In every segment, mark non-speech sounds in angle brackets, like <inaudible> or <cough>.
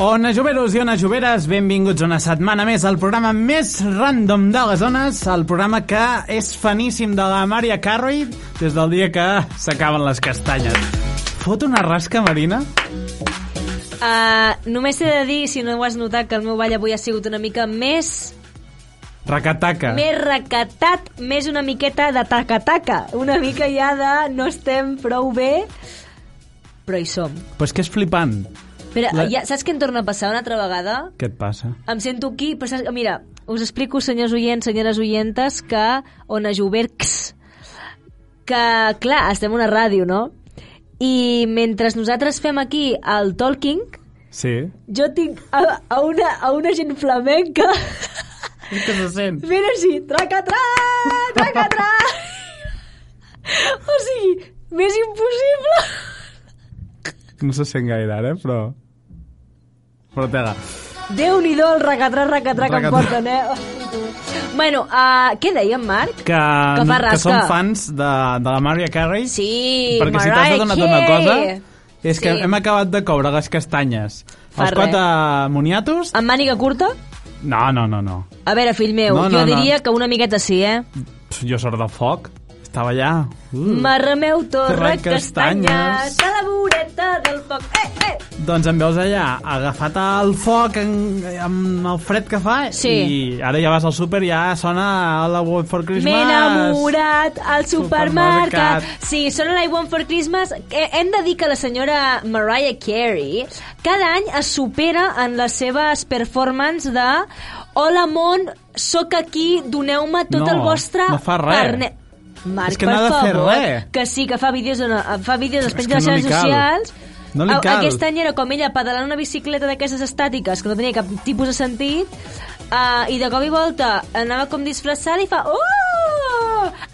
Ona Joveros i Ona Joveres, benvinguts una setmana més al programa més random de les zones, el programa que és faníssim de la Maria Carrey des del dia que s'acaben les castanyes. Fot una rasca, Marina? Uh, només he de dir, si no ho has notat, que el meu ball avui ha sigut una mica més... Racataca. Més recatat, més una miqueta de tacataca. Una mica ja de no estem prou bé, però hi som. Però és que és flipant. Però La- La... ja, saps què em torna a passar una altra vegada? Què et passa? Em sento aquí, però saps, mira, us explico, senyors oients, senyores oientes, que on a Jovercs, que, clar, estem a una ràdio, no? I mentre nosaltres fem aquí el talking, Sí. jo tinc a, a, una, a una gent flamenca <laughs> És que se sent. fent així, tracatrà, tracatrà. o sigui, més impossible. No se sent gaire, ara, eh, però... Però tela. Déu-n'hi-do el racatrà, racatrà que em Racatrà. porten, eh? Hosti, tu. Bueno, uh, què dèiem, Marc? Que, Que fa que rasca. som fans de, de la Maria Carrey. Sí, Perquè si t'has Mariah adonat d'una cosa, Carey. és que Sí. hem acabat de coure les castanyes. Fa els res. quatre moniatos... Amb màniga curta? No, no, no, no. A veure, fill meu, No, no, no, jo no. diria que una miqueta sí, eh? Pff, Jo sort de foc. Estava allà. Uh. Marrameu torre Torre castanya, castanyes. de la voreta del foc. Eh, eh! Doncs em veus allà, agafat al foc, en, amb el fred que fa, Sí. i ara ja vas al súper i ja sona la World for Christmas. M'he enamorat al supermercat. Supermercat. Sí, són l'I Want for Christmas. Eh, Hem de dir que la senyora Mariah Carey cada any es supera en les seves performances de Hola món, sóc aquí, doneu-me tot No, el vostre... no fa res. carnet." Marc, És que per no ha de fer favor, res. que sí, que fa vídeos, en, fa vídeos És es penja que a les no li xarxes cal. socials. No li A- cal. Aquest any era com ella pedalant una bicicleta d'aquestes estàtiques que no tenia cap tipus de sentit uh, i de cop i volta anava com disfressada i fa... Oh! Ah!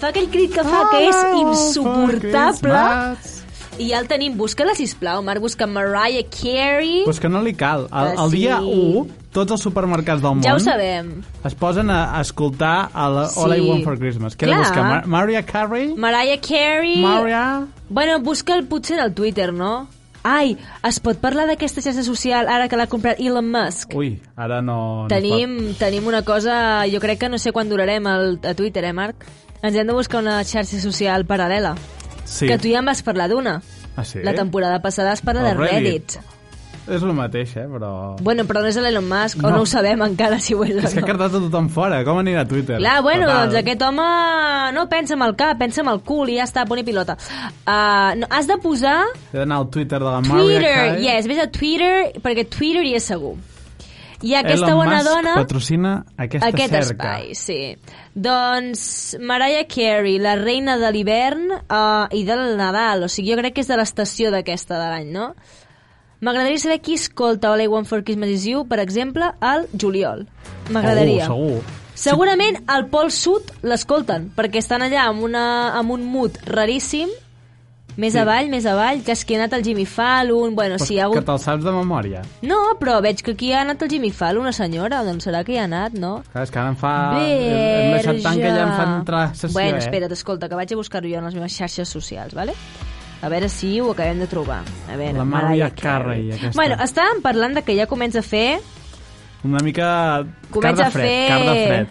Fa aquell crit que Ah, fa que és Hello, insuportable for Christmas. i ja el tenim. Busca-la, sisplau, Marc, busca Mariah Carey. Però és que no li cal. El, Ah, el dia sí. 1, tots els supermercats del món... Ja ho sabem. Es posen a, a escoltar el Sí. All I Want for Christmas. Què he de Clar. buscar? Mar Maria Carey? Mariah Carey... Maria? Bueno, busca'l potser del Twitter, no? Ai, es pot parlar d'aquesta xarxa social ara que l'ha comprat Elon Musk? Ui, ara no... no es Tenim, tenim una cosa, jo crec que no sé quan durarem el, a Twitter, eh, Marc? Ens hem de buscar una xarxa social paral·lela. pot. Sí. Que tu ja en vas parlar d'una. Ah, sí? La temporada passada es parla de El Reddit. Reddit. És el mateix, eh, però... Bueno, però no és l'Elon Musk, No. o no ho sabem encara si ho és o És que ha no. cardat a tothom fora. Com anirà a Twitter? Clar, bueno, Fatal. doncs aquest home no pensa amb el cap, pensa amb el cul i ja està, poni pilota. Uh, no, has de posar He d'anar al Twitter de la Maria Twitter, Carey. yes, vés a Twitter, perquè Twitter hi és segur. I aquesta Elon bona Musk dona... patrocina aquesta aquest cerca. espai, sí. Doncs Mariah Carey, la reina de l'hivern uh, i del Nadal, o sigui, jo crec que és de l'estació d'aquesta de l'any, no? M'agradaria saber qui escolta All I Want For Christmas Is You, per exemple, al juliol. M'agradaria. Oh, Segur, Segurament al Pol Sud l'escolten, perquè estan allà amb, una, amb un mut raríssim, més sí. avall, més avall, que és que ha anat el Jimmy Fallon, bueno, segur. sí, hi ha Que hagut te'l saps de memòria. no, però veig que aquí ha anat el Jimmy Fallon, una senyora, doncs serà que hi ha anat, no? Clar, és que ara em fa... Verge. Hem deixat tant que ja em fan entrar a sessió, Bueno, eh? espera't, escolta, que vaig a buscar-ho jo en les meves xarxes socials, vale? A veure si ho acabem de trobar. A veure, La Mariah Carey, aquesta. Bueno, estàvem parlant de que ja comença a fer... Una mica... Comença car de a fred, fer- car de fred.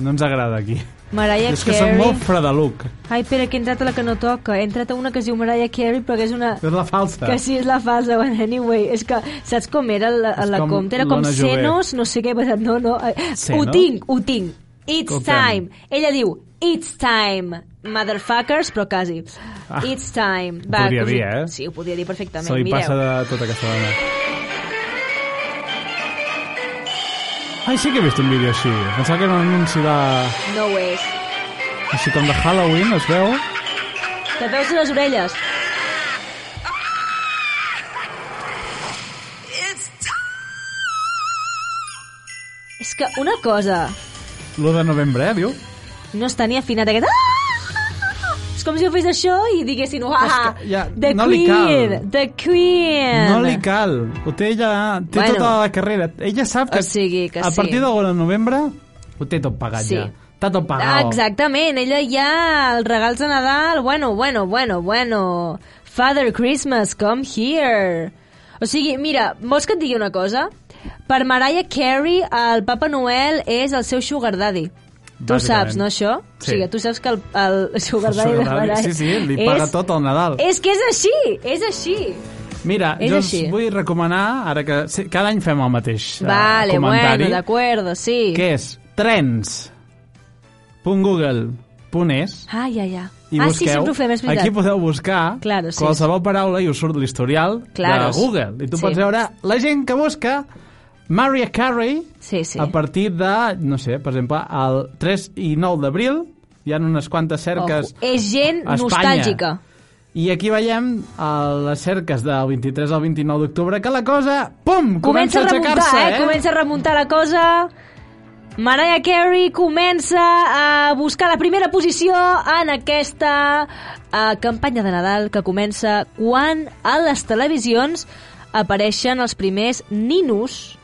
No ens agrada aquí. Mariah és que Carey... som molt fredaluc. Ai, espera, que he entrat a la que no toca. He entrat a una que es diu Mariah Carey, però que és una... És la falsa. Que sí, és la falsa, bueno, anyway, és que saps com era la, És la com compte? Era com l'Ona Jové. senos, no sé què, però no, no, eh, Seno? ho tinc, ho tinc. It's Escoltem. time. Ella diu, it's time. Motherfuckers, però quasi. Ah, It's time. ho podia que us- dir, eh? Sí, ho podia dir perfectament. Se li Mireu. passa de tota aquesta dona. Ai, sí que he vist un vídeo així. Pensava que era un anunci de... No ho és. Així com de Halloween, es veu? Que et veus les orelles. És que una cosa L'1 de novembre, eh, diu? no està ni afinat aquest... Ah! És com si jo fes això i diguessin uah, És que ja- The no li Queen, cal. The Queen. No li cal. Ho té ella... Té Bueno. tota la carrera. Ella sap que, O sigui que a sí. partir de de novembre ho té tot pagat Sí. ja. Està tot pagat. Ah, exactament, ella ja els regals de Nadal, bueno, bueno, bueno, bueno. Father Christmas, come here. O sigui, mira, vols que et digui una cosa? Per Mariah Carey, el Papa Noel és el seu sugar daddy. Tu ho Bàsicament. saps, no, això? Sí. O sigui, tu saps que el, el sugar El daddy de sugar daddy, Mariah... sí, sí, li <laughs> paga tot el Nadal. És que és així, és així. Mira, És jo us així. vull recomanar, ara que sí, cada any fem el mateix eh, vale, comentari, bueno, d'acord, sí. que és trens.google.es Ah, ja, i ja. ah, sí, busqueu, sempre ho fem, és veritat. aquí podeu buscar Claro, sí. qualsevol paraula i us surt l'historial Claro. de Google. I tu Sí. pots veure la gent que busca Mariah Carey Sí, sí. a partir de, no sé, per exemple, el 3 i 9 d'abril hi ha unes quantes cerques Ojo. És gent a Espanya. nostàlgica. I aquí veiem a les cerques del 23 al 29 d'octubre que la cosa, pum, comença, Comença a aixecar-se, remuntar, eh? Comença a remuntar la cosa. Mariah Carey comença a buscar la primera posició en aquesta eh, campanya de Nadal que comença quan a les televisions apareixen els primers ninos,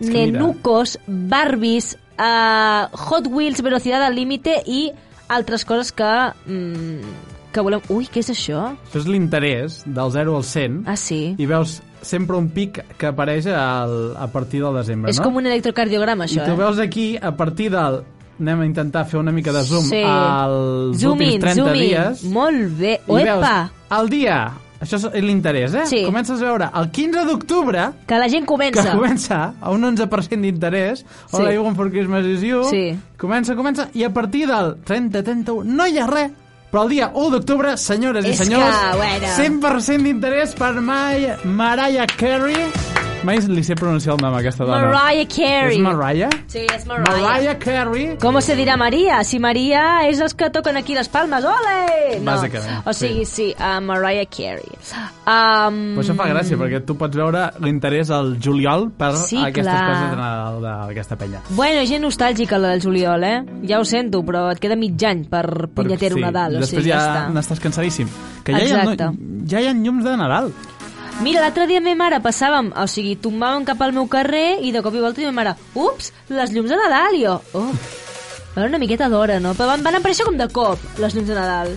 És que mira. nenucos, Barbies, eh, Hot Wheels, Velocitat al Límite i altres coses que, mm, que volem... Ui, què és això? Això és l'interès del 0 al 100 Ah, sí. i veus sempre un pic que apareix al, a partir del desembre, és no? com un electrocardiograma, I això, tu eh? veus aquí, a partir del... Anem a intentar fer una mica de zoom Sí. als Zoom últims in, 30 zoom in. dies. Molt bé. I Oepa! veus, el dia... Això és l'interès, eh? Sí. Comences a veure el 15 d'octubre, Que la gent que comença. comença a un 11% d'interès, Hola, Sí. sí. Even for Christmas is You, Sí. comença, comença, i a partir del 30-31 no hi ha res, però el dia 1 d'octubre, senyores És i senyors, que, bueno. 100% d'interès per Mai, Mariah Carey. Mai li sé pronunciar el nom, a aquesta dona. Mariah Carey. És Mariah? Sí, és Mariah. Mariah, Carey. Com se dirà Maria? Si Maria és els que toquen aquí les palmes, ole! No. Bàsicament, O sigui, sí, a Mariah Carey. Um, Però això fa gràcia, perquè tu pots veure l'interès al juliol per Sí, aquestes clar. coses de Nadal d'aquesta penya. Bueno, gent nostàlgica, la del juliol, eh? Ja ho sento, però et queda mig any per Per- punyetero Nadal. O Després sigui, ja, ja està. n'estàs cansadíssim. Que ja hi, ha, Exacte. ja hi ha llums de Nadal. Mira, l'altre dia ma mare passàvem, o sigui, tombàvem cap al meu carrer i de cop i volta i ma mare, ups, les llums de Nadal, i jo, oh, va una miqueta d'hora, no? Però van, van aparèixer com de cop, les llums de Nadal.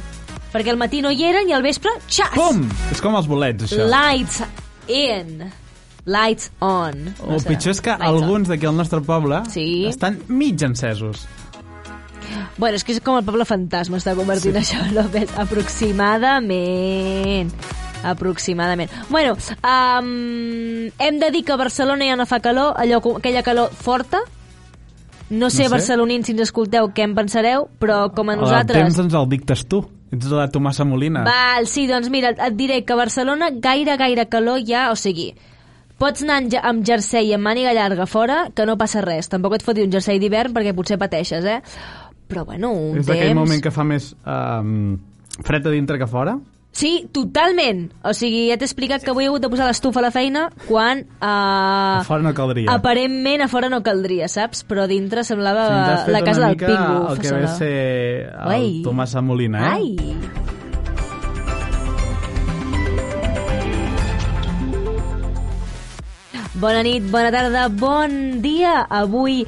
Perquè al matí no hi eren i al vespre, xas! Pum! És com els bolets, això. Lights in. Lights on. O pitjor és que Lights on. alguns d'aquí al nostre poble Sí. estan mig encesos. Bueno, és que és com el poble fantasma està convertint sí. això, López. Aproximadament. Aproximadament. Bueno, um, hem de dir que a Barcelona ja no fa calor, allò, com- aquella calor forta. No No sé. sé, no sé. barcelonins, si ens escolteu, què en pensareu, però com a El nosaltres... temps ens el dictes tu. Ets la Tomasa Molina. Val, sí, doncs mira, et diré que a Barcelona gaire, gaire calor ja, o sigui, pots anar amb ja- amb jersei i amb màniga llarga fora, que no passa res. Tampoc et foti un jersei d'hivern perquè potser pateixes, eh? Però bueno, un és temps... aquell moment que fa més um, fred a dintre que fora. Sí, totalment. O sigui, ja t'he explicat que avui he hagut de posar l'estufa a la feina quan... Uh, A fora no caldria. Aparentment a fora no caldria, saps? Però a dintre semblava Sí, t'has fet la casa una del mica Pingu. El que ve a semblava. ser el Uai. Tomasa Molina, eh? Ai! Bona nit, bona tarda, bon dia. Avui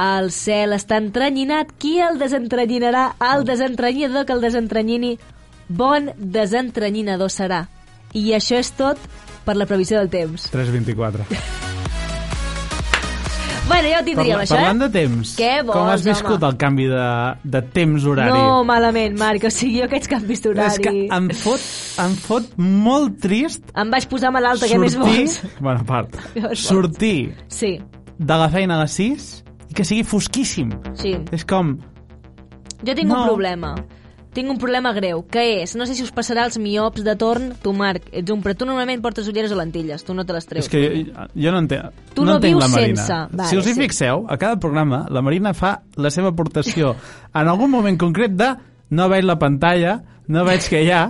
el cel està entrenyinat. Qui el desentranyinarà? El desentranyinador que el desentranyini. Bon desentranyinador serà. I això és tot per la previsió del temps. <laughs> 3.24. Bueno, ja ho tindríem, Parla- això, Parlant eh? de temps, Què com vols, has viscut home? el canvi de, de temps horari? No, malament, Marc. O sigui, jo aquests canvis d'horari... És que em fot, em fot molt trist Em vaig posar malalta, sortir... què més vols? <laughs> Bueno, a <laughs> part, Què més vols? sortir Sí, de la feina a les 6 i que sigui fosquíssim. sí. És com... Jo tinc No. un problema. Tinc un problema greu, que és, no sé si us passarà als miops de torn, tu Marc, ets un, però tu normalment portes ulleres o lentilles, tu no te les treus. És que jo, jo no entenc, Tu no entenc vius la Marina. sense. Vale, si us hi sí. fixeu, a cada programa la Marina fa la seva aportació <laughs> en algun moment concret de no veig la pantalla, no veig que hi ha,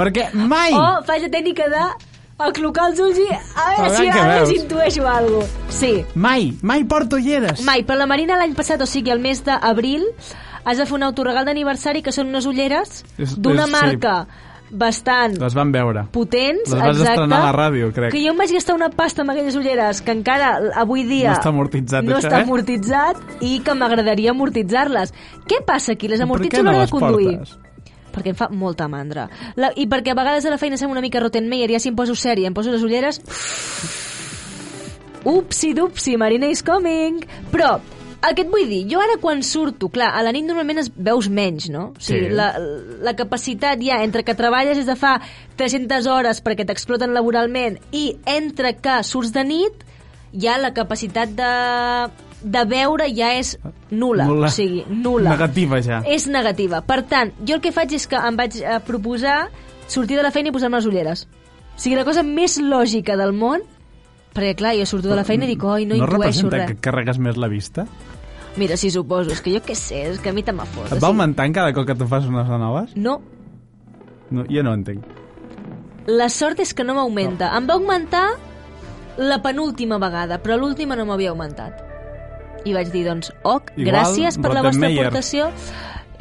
perquè mai... O faig la tècnica de aclocar els ulls i a A veure veure si què ara veus. si intueixo alguna cosa. Sí. Mai, mai porto ulleres. Mai, però la Marina l'any passat, o sigui, el mes d'abril, has de fer un autoregal d'aniversari que són unes ulleres És- d'una és- sí. marca bastant Les van veure. potents, Les vas exacte, estrenar a la ràdio, crec. Que jo em vaig gastar una pasta amb aquelles ulleres que encara avui dia... No està amortitzat, No això, està eh? amortitzat i que m'agradaria amortitzar-les. Què passa aquí? Les Per amortitzo què a no l'hora les de conduir. portes? Perquè em fa molta mandra. La, I perquè a vegades a la feina sembla una mica Rottenmeier, ja si em poso sèrie, em poso les ulleres... Upsi dupsi, Marina is coming! Però, el que et vull dir, jo ara quan surto, clar, a la nit normalment es veus menys, no? O sigui, Sí. la, la capacitat ja entre que treballes és de fa 300 hores perquè t'exploten laboralment i entre que surts de nit ja la capacitat de, de veure ja és nul·la. Nul·la. O sigui, nul·la. Negativa, ja. És negativa. Per tant, jo el que faig és que em vaig eh, proposar sortir de la feina i posar-me les ulleres. O sigui, la cosa més lògica del món, perquè clar, jo surto de la feina i dic, oi, no, no intueixo representa res. que carregues més la vista? Mira, si suposo, és que jo què sé, és que a mi te m'ha fot. Et va augmentant cada cop que tu fas unes de noves? No, No, jo no entenc. la sort és que no m'augmenta. Em va augmentar la penúltima vegada, però l'última no m'havia augmentat. I vaig dir, doncs, ok, Igual, gràcies per la vostra Rottenmeier. aportació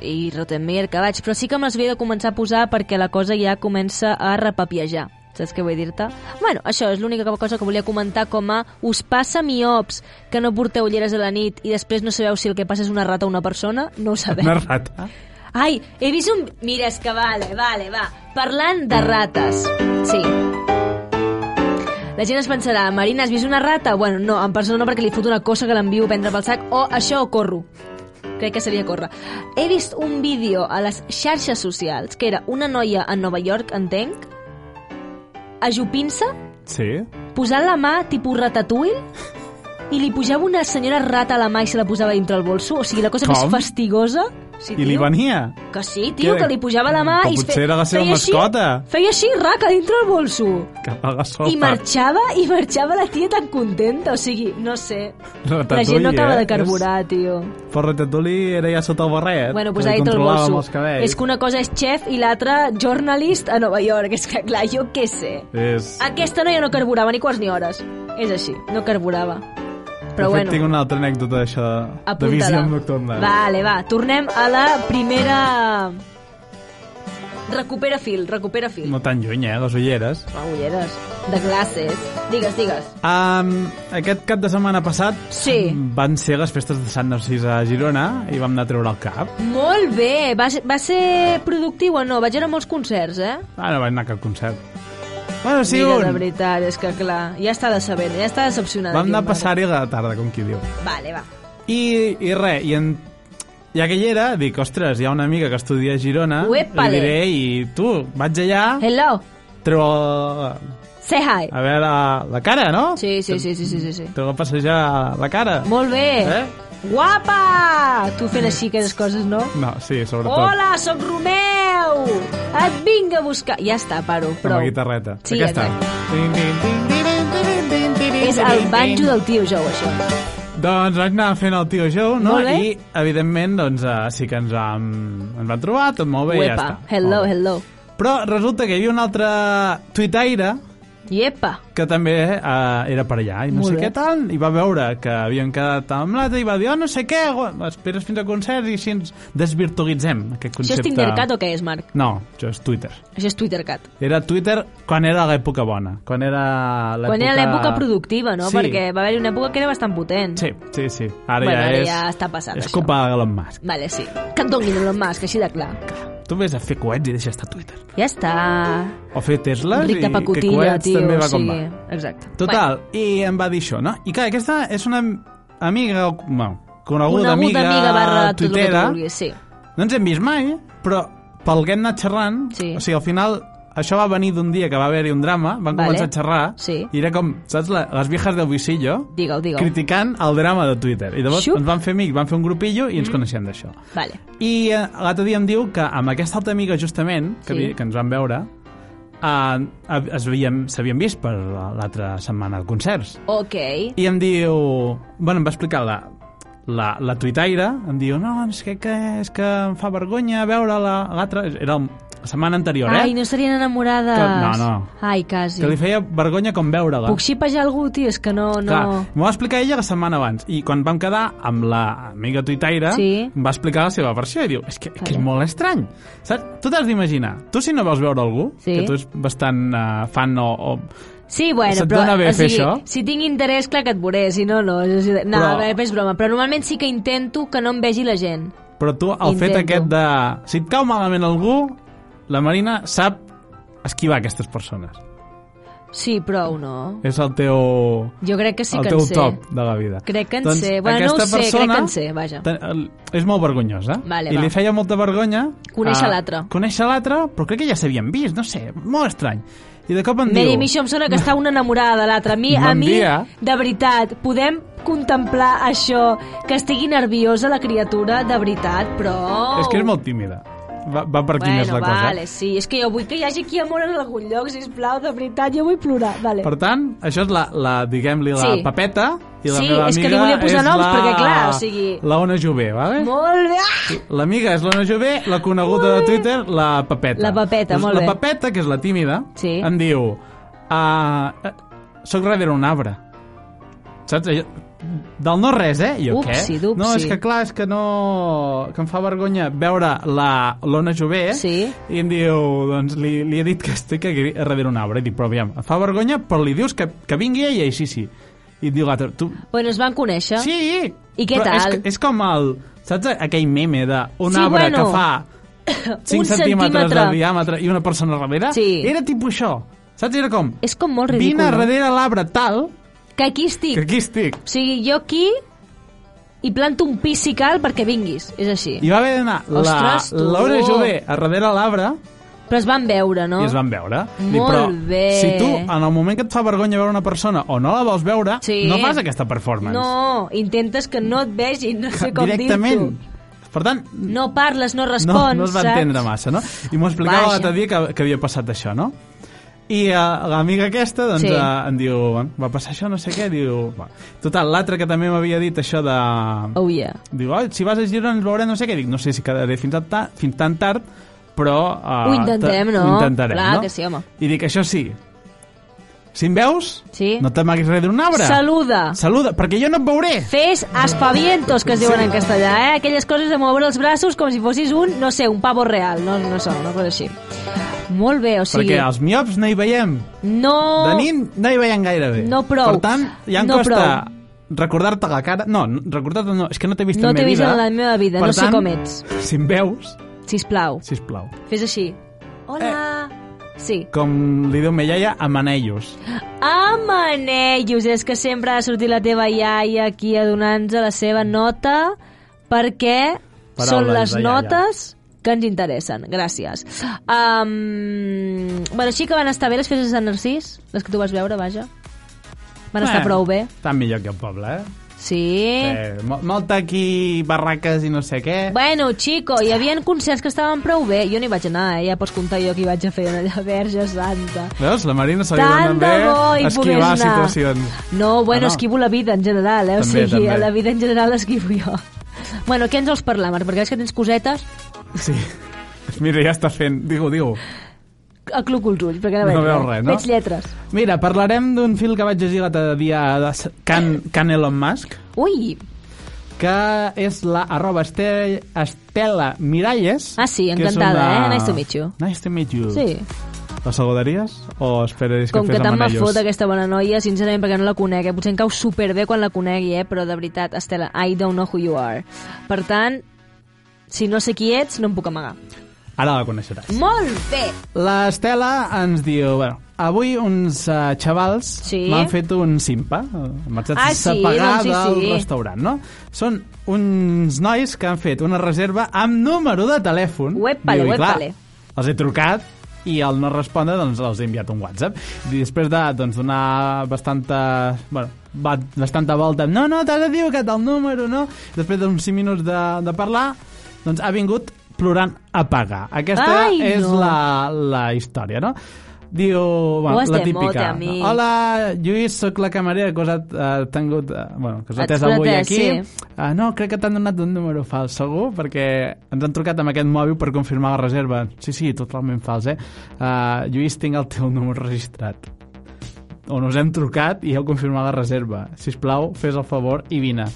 i Rottenmeier que vaig, però sí que me'ls havia de començar a posar perquè la cosa ja comença a repapiejar. Saps què vull dir-te? Bueno, això és l'única cosa que volia comentar com a us passa miops que no porteu ulleres a la nit i després no sabeu si el que passa és una rata o una persona? No ho sabeu. Una rata. Ai, he vist un... Mira, és que vale, vale, va. Parlant de rates. Sí. La gent es pensarà, Marina, has vist una rata? Bueno, no, en persona no, perquè li foto una cosa que l'envio a prendre pel sac, o això o corro. Crec que seria córrer. He vist un vídeo a les xarxes socials, que era una noia a Nova York, entenc, ajupint-se, Sí? posant la mà tipus ratatouille, i li pujava una senyora rata a la mà i se la posava dintre el bolso. O sigui, la cosa Com? més fastigosa... Sí, I li tio. venia? Que sí, tio, Què? que li pujava la mà Però i es potser era la seva feia així- mascota. Feia així, raca, dintre el bolso. Que paga sopa. I marxava, i marxava la tia tan contenta, o sigui, no sé. La gent no Ratatouille, acaba eh? de carburar, tio. Però Ratatouille era ja sota el barret. Bueno, que pues ha dit el controlava amb bolso. els cabells. És que una cosa és chef i l'altra journalist a Nova York. És que, clar, jo què sé. És... Aquesta noia no carburava ni quarts ni hores. És així, no carburava. De Però fet, bueno. tinc una altra anècdota d'això de, de Apunta-la. visió nocturna. Vale, va. Tornem a la primera... Recupera fil, recupera fil. No tan lluny, eh, les ulleres. Home, ulleres. De classes. Digues, digues. Um, aquest cap de setmana passat Sí. van ser les festes de Sant Narcís a Girona i vam anar a treure el cap. Molt bé. Va, ser- va ser productiu o no? Vaig anar a molts concerts, eh? Ah, no vaig anar a cap concert. Bueno, sí, Mira, de un. veritat, és que clar, ja està decebent, ja està decepcionada. Vam anar a Guillem, passar-hi a la tarda, com qui diu. ara. Vale, va. I, i res, i, en... ja que hi era, dic, ostres, hi ha una amiga que estudia a Girona, Uepale. li diré, i tu, vaig allà, Hello, treu el- say hi. a veure la, la cara, no? Sí, sí, sí, sí, sí, sí. sí. Treu a passejar la cara. Molt bé. Eh? Guapa! Tu fent així aquelles coses, no? No, sí, sobretot. Hola, sóc Romeu! Et vinc a buscar... Ja està, paro, Amb prou. la guitarreta. Sí, Aquesta. exacte. Din, din, din, din, din, din, din, din, És el banjo del tio jou, això. Doncs vaig anar fent el tio Joe, no? Molt bé. I, evidentment, doncs, eh, sí que ens vam, ens vam trobar, tot molt bé, i ja Uepa, està. hello, Molt bé. hello. Però resulta que hi havia un altre tuitaire Iepa. que també eh, era per allà, i no Molt sé bé. què tal, i va veure que havien quedat amb l'altre, i va dir, oh, no sé què, gu- esperes fins al concert, i així ens desvirtualitzem aquest Això concepte. és Tindercat o què és, Marc? No, això és Twitter. Això és Twittercat. Era Twitter quan era l'època bona, quan era l'època... Quan era l'època productiva, no? Sí. Perquè va haver-hi una època que era bastant potent. Sí, sí, sí. Ara Bueno, ja ara és... ja està passant, És això. culpa d'Elon Musk. Vale, sí. Que et donguin Elon Musk, així de clar. Tu vés a fer coets i deixa estar a Twitter. Ja està. O fer Tesla i Ric de que pacotilla, coets tio. també va o com sigui... va. Exacte. Total, i em va dir això, no? I clar, aquesta és una am- amiga, o- bueno, coneguda, Coneguda amiga, amiga barra tot el que tu tuitera. vulguis, sí. No ens hem vist mai, però pel que hem anat xerrant, Sí. o sigui, al final això va venir d'un dia que va haver-hi un drama, van Vale. començar a xerrar, Sí. i era com, saps, la, les viejas del visillo, Digue'l, digue'l. criticant el drama de Twitter. I llavors Xup. Mm. ens van fer amics, van fer un grupillo i ens coneixem d'això. Vale. I eh, l'altre dia em diu que amb aquesta altra amiga, justament, que, Sí. sí. que ens vam veure, eh, es veiem- s'havien vist per l'altra setmana de concerts. Ok. I em diu... Bueno, em va explicar la, la, la tuitaire, em diu, no, és que, que, és que em fa vergonya veure la- l'altra... La, era el- la setmana anterior, eh? Ai, no serien enamorades. Que- no, no. Ai, quasi. Que li feia vergonya com veure-la. Puc xipejar algú, tio? És que no... no... Clar, m'ho va explicar ella la setmana abans i quan vam quedar amb la amiga tuitaire Sí. em va explicar la seva versió i diu és que, que és Vale. molt estrany Saps? tu t'has d'imaginar, tu si no vols veure algú Sí. que tu ets bastant uh, fan o, o... Sí, bueno, Se't però... dona bé o fer sigui, això? Si tinc interès, clar que et veuré, si no, no. És, és, no, Però- però... és broma. Però normalment sí que intento que no em vegi la gent. però tu el fet Intento. aquest de si et cau malament algú la Marina sap esquivar aquestes persones Sí, prou, no. és el teu, Jo crec que sí el que teu en sé. top de la vida Doncs Crec que en sé. Bueno, no ho aquesta sé, crec persona que en sé, vaja. te- el- és molt vergonyosa Vale, i va. li feia molta vergonya Conèixer eh, l'altre. conèixer l'altre, però crec que ja s'havien vist no sé, molt estrany i de cop em Mary, a diu mi això em sona que està una enamorada de l'altra. A mi, a Bon mi dia. de veritat, podem contemplar això, que estigui nerviosa la criatura, de veritat, però... <laughs> és que és molt tímida va, va per aquí Oh. bueno, més la cosa vale, sí. És que jo vull que hi hagi aquí amor en algun lloc, sisplau, de veritat, jo vull plorar. Vale. per tant, això és la, la diguem-li la Sí. papeta i la Sí, meva és que li amiga volia posar és noms, la... perquè, clar, o sigui- la Ona Jové, vale? Molt bé! Ah! l'amiga és l'Ona Jové, la coneguda de Twitter la papeta La Papeta, Doncs molt bé. la papeta, que és la tímida Sí. em diu uh, soc darrere un arbre saps? Allò, del no res, eh? I Jo, Upsi, què? dupsi. No, és que clar, és que no... que em fa vergonya veure la l'Ona Jové eh?" Sí. i em diu, doncs li, li he dit que estic aquí darrere un arbre. I dic, però aviam, em fa vergonya, però li dius que, que vingui ella i sí, sí. I et diu l'altre, tu... Bueno, es van conèixer. Sí! I què però tal? És, és com el... Saps aquell meme de un Sí, arbre bueno. que <laughs> fa 5 centímetres de centímetre. diàmetre i una persona al darrere? Sí. Era tipus això. Saps? Era com... És com molt ridícul. Vine no? darrere l'arbre tal Que aquí estic. que aquí estic. O sigui, jo aquí i planto un pis si cal perquè vinguis. És així. I va haver d'anar la Ostres, tu. Laura Jové a darrere l'arbre Però es van veure, no? i es van veure. Dic, Molt però, bé. Si tu, en el moment que et fa vergonya veure una persona o no la vols veure, Sí. no fas aquesta performance. No, intentes que no et vegin, no sé com Directament. dir-t'ho. Per tant, No parles, no respons, no, no es va saps? entendre massa, no? I m'ho explicava Vaja. l'altre dia que, que havia passat això, no? I uh, l'amiga aquesta, doncs, Sí. sí. uh, em diu, va passar això, no sé què, diu... Va. Total, l'altre que també m'havia dit això de... Oh, yeah. Diu, oh, si vas a Girona ens veurem, no sé què. Dic, no sé si quedaré fins, a ta fins tan tard, però... Uh, Ho intentem, no? Ho intentarem, Clar no? que sí, home. I dic, això sí, si em veus, Sí. no t'amaguis res d'un arbre. Saluda. Saluda, perquè jo no et veuré. Fes aspavientos, que es diuen en castellà, eh? Aquelles coses de moure els braços com si fossis un, no sé, un pavo real. No, no sé, una cosa així. Molt bé, o sigui... Perquè els miops no hi veiem. No... De nit no hi veiem gaire bé. No prou. Per tant, ja em No costa prou. recordar-te la cara... No, no, recordar-te no, és que no t'he vist No en la meva t'he vist vida. en la meva vida, per no sé tant, com ets. <laughs> si em veus, Sisplau, sisplau. fes Eh. així. Hola. Eh. Sí. Com li diu me iaia, amanellos. Amanellos, és que sempre ha sortit la teva iaia aquí a donar-nos la seva nota perquè Paraules són les de iaia. notes que ens interessen. Gràcies. Um, bueno, així que van estar bé les festes de Sant Narcís, les que tu vas veure, vaja. Van estar Eh, prou bé. Tant millor que el poble, eh? Sí. eh mo- molta aquí barraques i no sé què. Bueno, chico, hi havia concerts que estaven prou bé. Jo no hi vaig anar, eh? ja pots comptar jo que hi vaig a fer allà, Verge Santa. Veus? La Marina se li Tant donen de bo bé hi esquivar pogués anar. situacions. No, bueno, Ah, no? esquivo la vida en general, eh? També, o sigui, també. la vida en general l'esquivo jo. Bueno, què ens vols parlar, Marc? Perquè veig que tens cosetes. Sí. <laughs> Mira, ja està fent... Diu, diu. Acluco els ulls, perquè No no, veig eh? veus res, no? Veig lletres. Mira, parlarem d'un fil que vaig llegir l'altre dia de S- Can, Can Elon Musk. Ui! que és la arroba este, Estela Miralles. Ah, sí, que és encantada, eh? Nice to meet you. Nice to meet you. Sí. La saludaries o esperaries Com que que fes tant me amanellos? fot aquesta bona noia, sincerament, perquè no la conec, eh? Potser em cau superbé quan la conegui, eh? Però de veritat, Estela, I don't know who you are. Per tant, si no sé qui ets, no em puc amagar. Ara la coneixeràs. Molt bé! L'Estela ens diu... Bueno, avui uns uh, xavals Sí. m'han fet un simpa. M'han fet Ah, sí? sepagar Doncs sí, del sí. restaurant, no? Són uns nois que han fet una reserva amb número de telèfon. Uepale, Diu, i clar, uepale. Els he trucat i al no respondre doncs, els he enviat un WhatsApp. I després de doncs, donar bastanta... Bueno, va- bastanta volta, no, no, t'has equivocat el número, no? Després d'uns 5 minuts de, de parlar, doncs ha vingut plorant a pagar. Aquesta Ai, és no. la, la història, no? Diu, bueno, has la de mote, típica. amic. Hola, Lluís, sóc la camarera que us ha eh, tingut, eh, bueno, que us ha Et atès avui fotés, aquí. sí. Ah, no, crec que t'han donat un número fals, segur, perquè ens han trucat amb aquest mòbil per confirmar la reserva. Sí, sí, totalment fals, eh? Uh, Lluís, tinc el teu número registrat. On us hem trucat i heu confirmat la reserva. Si plau, fes el favor i vine.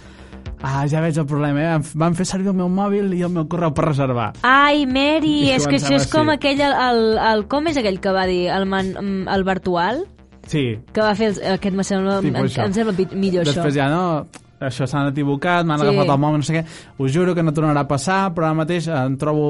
Ah, ja veig el problema, eh? Em f- Van fer servir el meu mòbil i el meu correu per reservar. Ai, Mary, I és que això començava és com així. aquell... El, el, el, com és aquell que va dir el, man, mm, el Bartual? Sí, Que va fer... Els, aquest me sembla, Tipo em, això. em sembla pi- millor, Després això. ja no, això s'han equivocat, m'han Sí. sí. agafat el mòbil, no sé què. Us juro que no tornarà a passar, però ara mateix eh, em trobo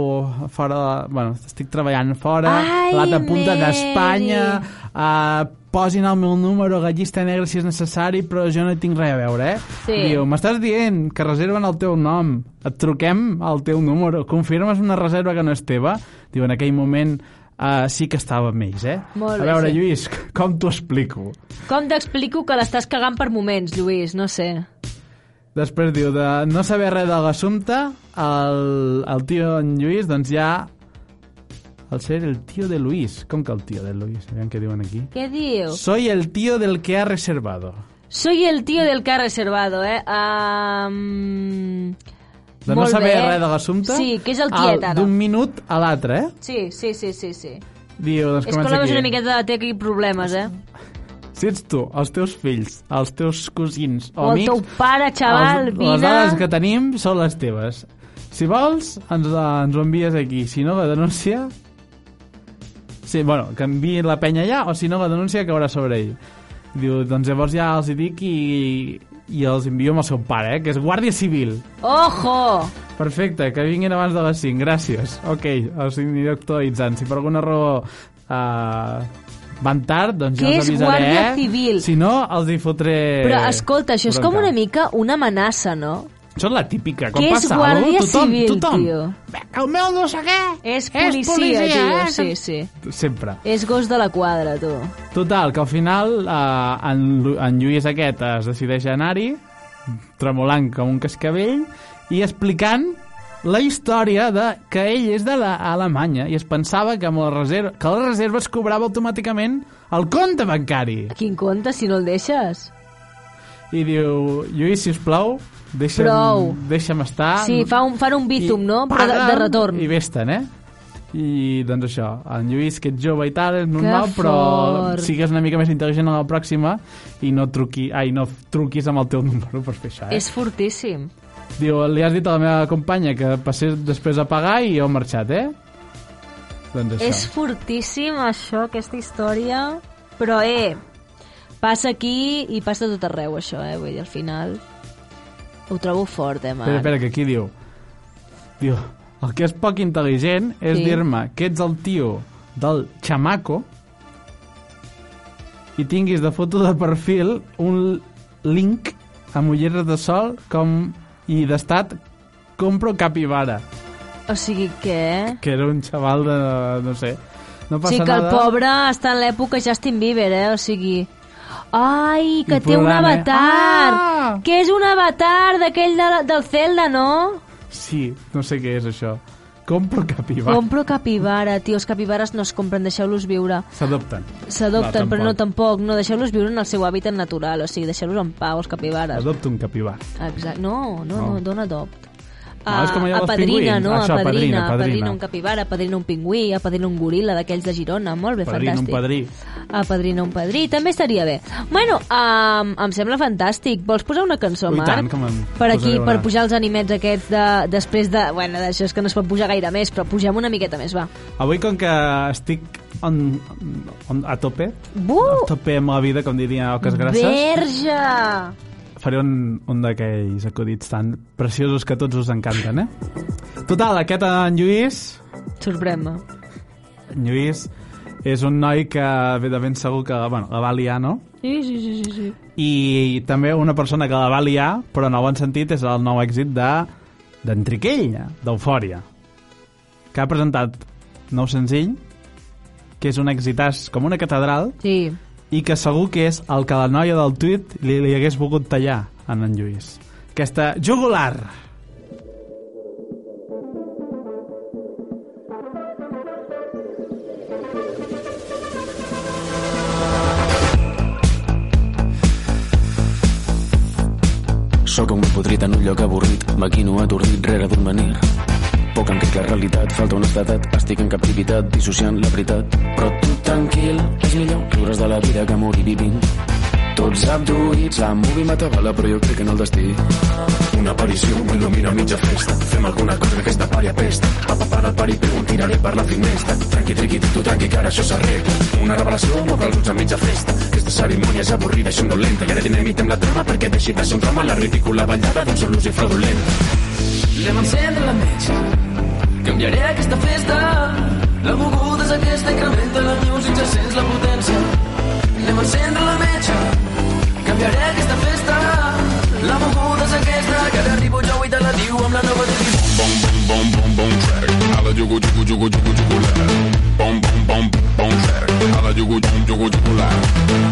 fora... De, bueno, estic treballant fora, Ai, a l'altra punta Mary. d'Espanya... Uh, posin el meu número a la llista negra si és necessari, però jo no hi tinc res a veure, eh? Sí. Diu, m'estàs dient que reserven el teu nom, et truquem al teu número, confirmes una reserva que no és teva? Diu, en aquell moment uh, sí que estava amb ells, eh? Molt a bé, veure, sí. Lluís, com t'ho explico? Com t'explico que l'estàs cagant per moments, Lluís? No sé. Després diu, de no saber res de l'assumpte, el, el tio en Lluís, doncs ja... Al ser el tio de Luis. Com que el tio de Luis? Aviam què diuen aquí. Què diu? Soy el tío del que ha reservado. Soy el tío del que ha reservado, eh? Um... De no saber res de l'assumpte... Sí, que és el al- tiet, ara. D'un minut a l'altre, eh? Sí, sí, sí, sí, sí. Diu, doncs És que comença l'home és aquí. una miqueta de té aquí problemes, eh? Si ets tu, els teus fills, els teus cosins o, O el amics... teu pare, xaval, els, vine. Les dades que tenim són les teves. Si vols, ens, ens ho envies aquí. Si no, la denúncia... Sí, bueno, que enviï la penya allà, o si no, la denúncia caurà sobre ell. Diu, doncs llavors ja els hi dic i, i els envio amb el seu pare, eh, que és guàrdia civil. Ojo! Perfecte, que vinguin abans de les 5, gràcies. Ok, els aniré actualitzant. Si per alguna raó uh, van tard, doncs Què ja els és avisaré. Guàrdia Civil? Si no, els hi fotré... Però escolta, això és com Eh, bronca. una mica una amenaça, no? Són la típica, quan Què és passa Guàrdia alguna cosa, tothom, Civil, tothom. tio? Bé, El meu no sé què, És policia, eh? tio, sí, sí. Sempre. És gos de la quadra, tu. Total, que al final eh, en, Lu- en Lluís aquest es decideix a anar-hi, tremolant com un cascavell, i explicant la història de que ell és de la, Alemanya i es pensava que, amb la reserva, que la reserva es cobrava automàticament al compte bancari. Quin compte, si no el deixes? I diu, Lluís, sisplau, deixa'm, Prou. deixa'm estar. Sí, fa un, fan un bítum, Ah, I no? Però de, de paga'm retorn. I vés-te'n, eh? I doncs això, en Lluís, que ets jove i tal, és normal, però fort. sigues una mica més intel·ligent a la pròxima i no, truqui, ai, no truquis amb el teu <laughs> número per fer això, eh? És fortíssim. Diu, li has dit a la meva companya que passés després a pagar i heu marxat, eh? Doncs això. És fortíssim, això, aquesta història. Però, eh, passa aquí i passa a tot arreu, això, eh? Vull dir, al final... Ho trobo fort, eh, Espera, Marc? espera, que aquí diu... Diu, el que és poc intel·ligent és Sí. dir-me que ets el tio del xamaco i tinguis de foto de perfil un link amb ulleres de sol com i d'estat compro capibara, O sigui que... que era un xaval de... no sé... No O passa sigui que el nada. pobre està en l'època Justin Bieber, eh? O sigui... Ai, que I té un plorant, eh? avatar! Ah! Que és un avatar d'aquell de, la- del Zelda, no? Sí, no sé què és això. Compro capibara. Compro capibara, tio. Els capibares no es compren, deixeu-los viure. S'adopten. S'adopten, No, però no tampoc. tampoc. No, deixeu-los viure en el seu hàbitat natural. O sigui, deixeu-los en pau, els capibares. Adopta un capibara. Exacte. No, no, no, No. dona adopt. Ah, és com allò dels apadrina, pingüins. no? Això, apadrina, apadrina, apadrina, apadrina. un capibara, apadrina un pingüí, apadrina un goril·la d'aquells de Girona. Molt bé, Padrí, un fantàstic. padrí. Apadrina un padrí, també estaria bé. Bueno, um, em sembla fantàstic. Vols posar una cançó, Ui, Marc? tant, que me'n per posaré aquí, una. per pujar els animets aquests de, després de... Bueno, d'això és que no es pot pujar gaire més, però pugem una miqueta més, va. Avui, com que estic on, on, a tope, a Buh! tope amb la vida, com diria Oques Grasses, Verge! faré un, un d'aquells acudits tan preciosos que a tots us encanten, eh? Total, aquest en Lluís, Sorprèn-me. en Lluís és un noi que ve de ben segur que bueno, la va liar, no? Sí, sí, sí, sí, sí. I també una persona que la va liar, però en el bon sentit, és el nou èxit de d'Entriquell, d'Eufòria, que ha presentat nou senzill que és un exitàs com una catedral, Sí. i que segur que és el que la noia del tuit li, li hagués volgut tallar a en Lluís. Aquesta jugular. Sóc un podrit en un lloc avorrit, maquino atordit rere d'un menir. Poc em crec la realitat, falta honestedat, estic en captivitat, dissociant la veritat. Però tu tranquil, és millor riure's de la vida que morir vivint. Tots abduïts, la movie m'atabala, però jo crec en el destí. Una aparició il·lumina mitja festa. Fem alguna cosa d'aquesta pària pesta. Va papar el pari, però un tiraré per la finestra. Tranqui, triqui, tu tanqui, que ara això s'arregla. Una revelació m'obre els ulls a mitja festa. Aquesta cerimònia és avorrida i somnolenta. I ara dinamitem la trama perquè deixi de ser un drama la ridícula ballada d'un sol ús i fraudulent. Anem a encendre la metge. Canviaré aquesta festa. La moguda és aquesta, incrementa la music, ja sents la potència. Anem a encendre la metge. Canviaré aquesta festa. La moguda és aquesta, que ara arribo jo i te la diu amb la nova de Bom, bom, bom, bom, bom, track. Hala, jugo, jugo, jugo, jugo, jugo, la. Bom, bom, bom, bom, track. Hala, jugo, jugo, jugo, jugo, la.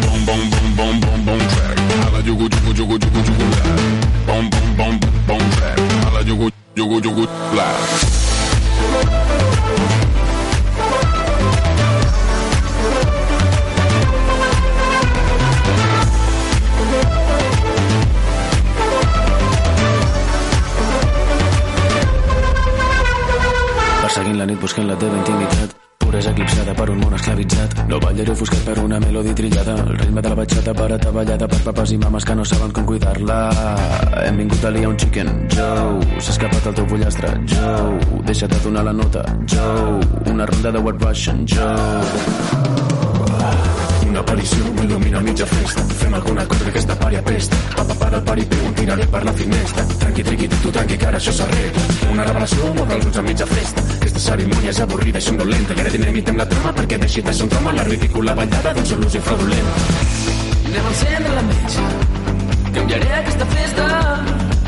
Bom, bom, bom, bom, bom, bom, track. Hala, jugo, jugo, jugo, jugo, jugo, la. Bom, bom, bom, bom, track. Hala, jugo, jugo, jugo, la. Perseguint la nit buscant la teva intimitat Puresa eclipsada per un món esclavitzat No ballaré ofuscat per una melodi trillada El ritme de la batxata per ataballada Per papes i mames que no saben com cuidar-la Hem vingut a liar un chicken Joe, s'ha escapat el teu pollastre Joe, deixa't donar la nota Joe, una ronda de White Russian Joe Una aparició il·lumina mitja festa. Fem alguna cosa d'aquesta pària pesta. Papa para el pari, però un tiraré per la finestra. Tranqui, triqui, tu tanqui, que ara això s'arregla. Una revelació m'obre els ulls a mitja festa. Aquesta cerimònia és avorrida i somnolenta. I ara dinamitem la trama perquè deixi de ser un drama la ridícula ballada d'un sol ús i fraudulent. Anem a encendre la metge. Canviaré aquesta festa.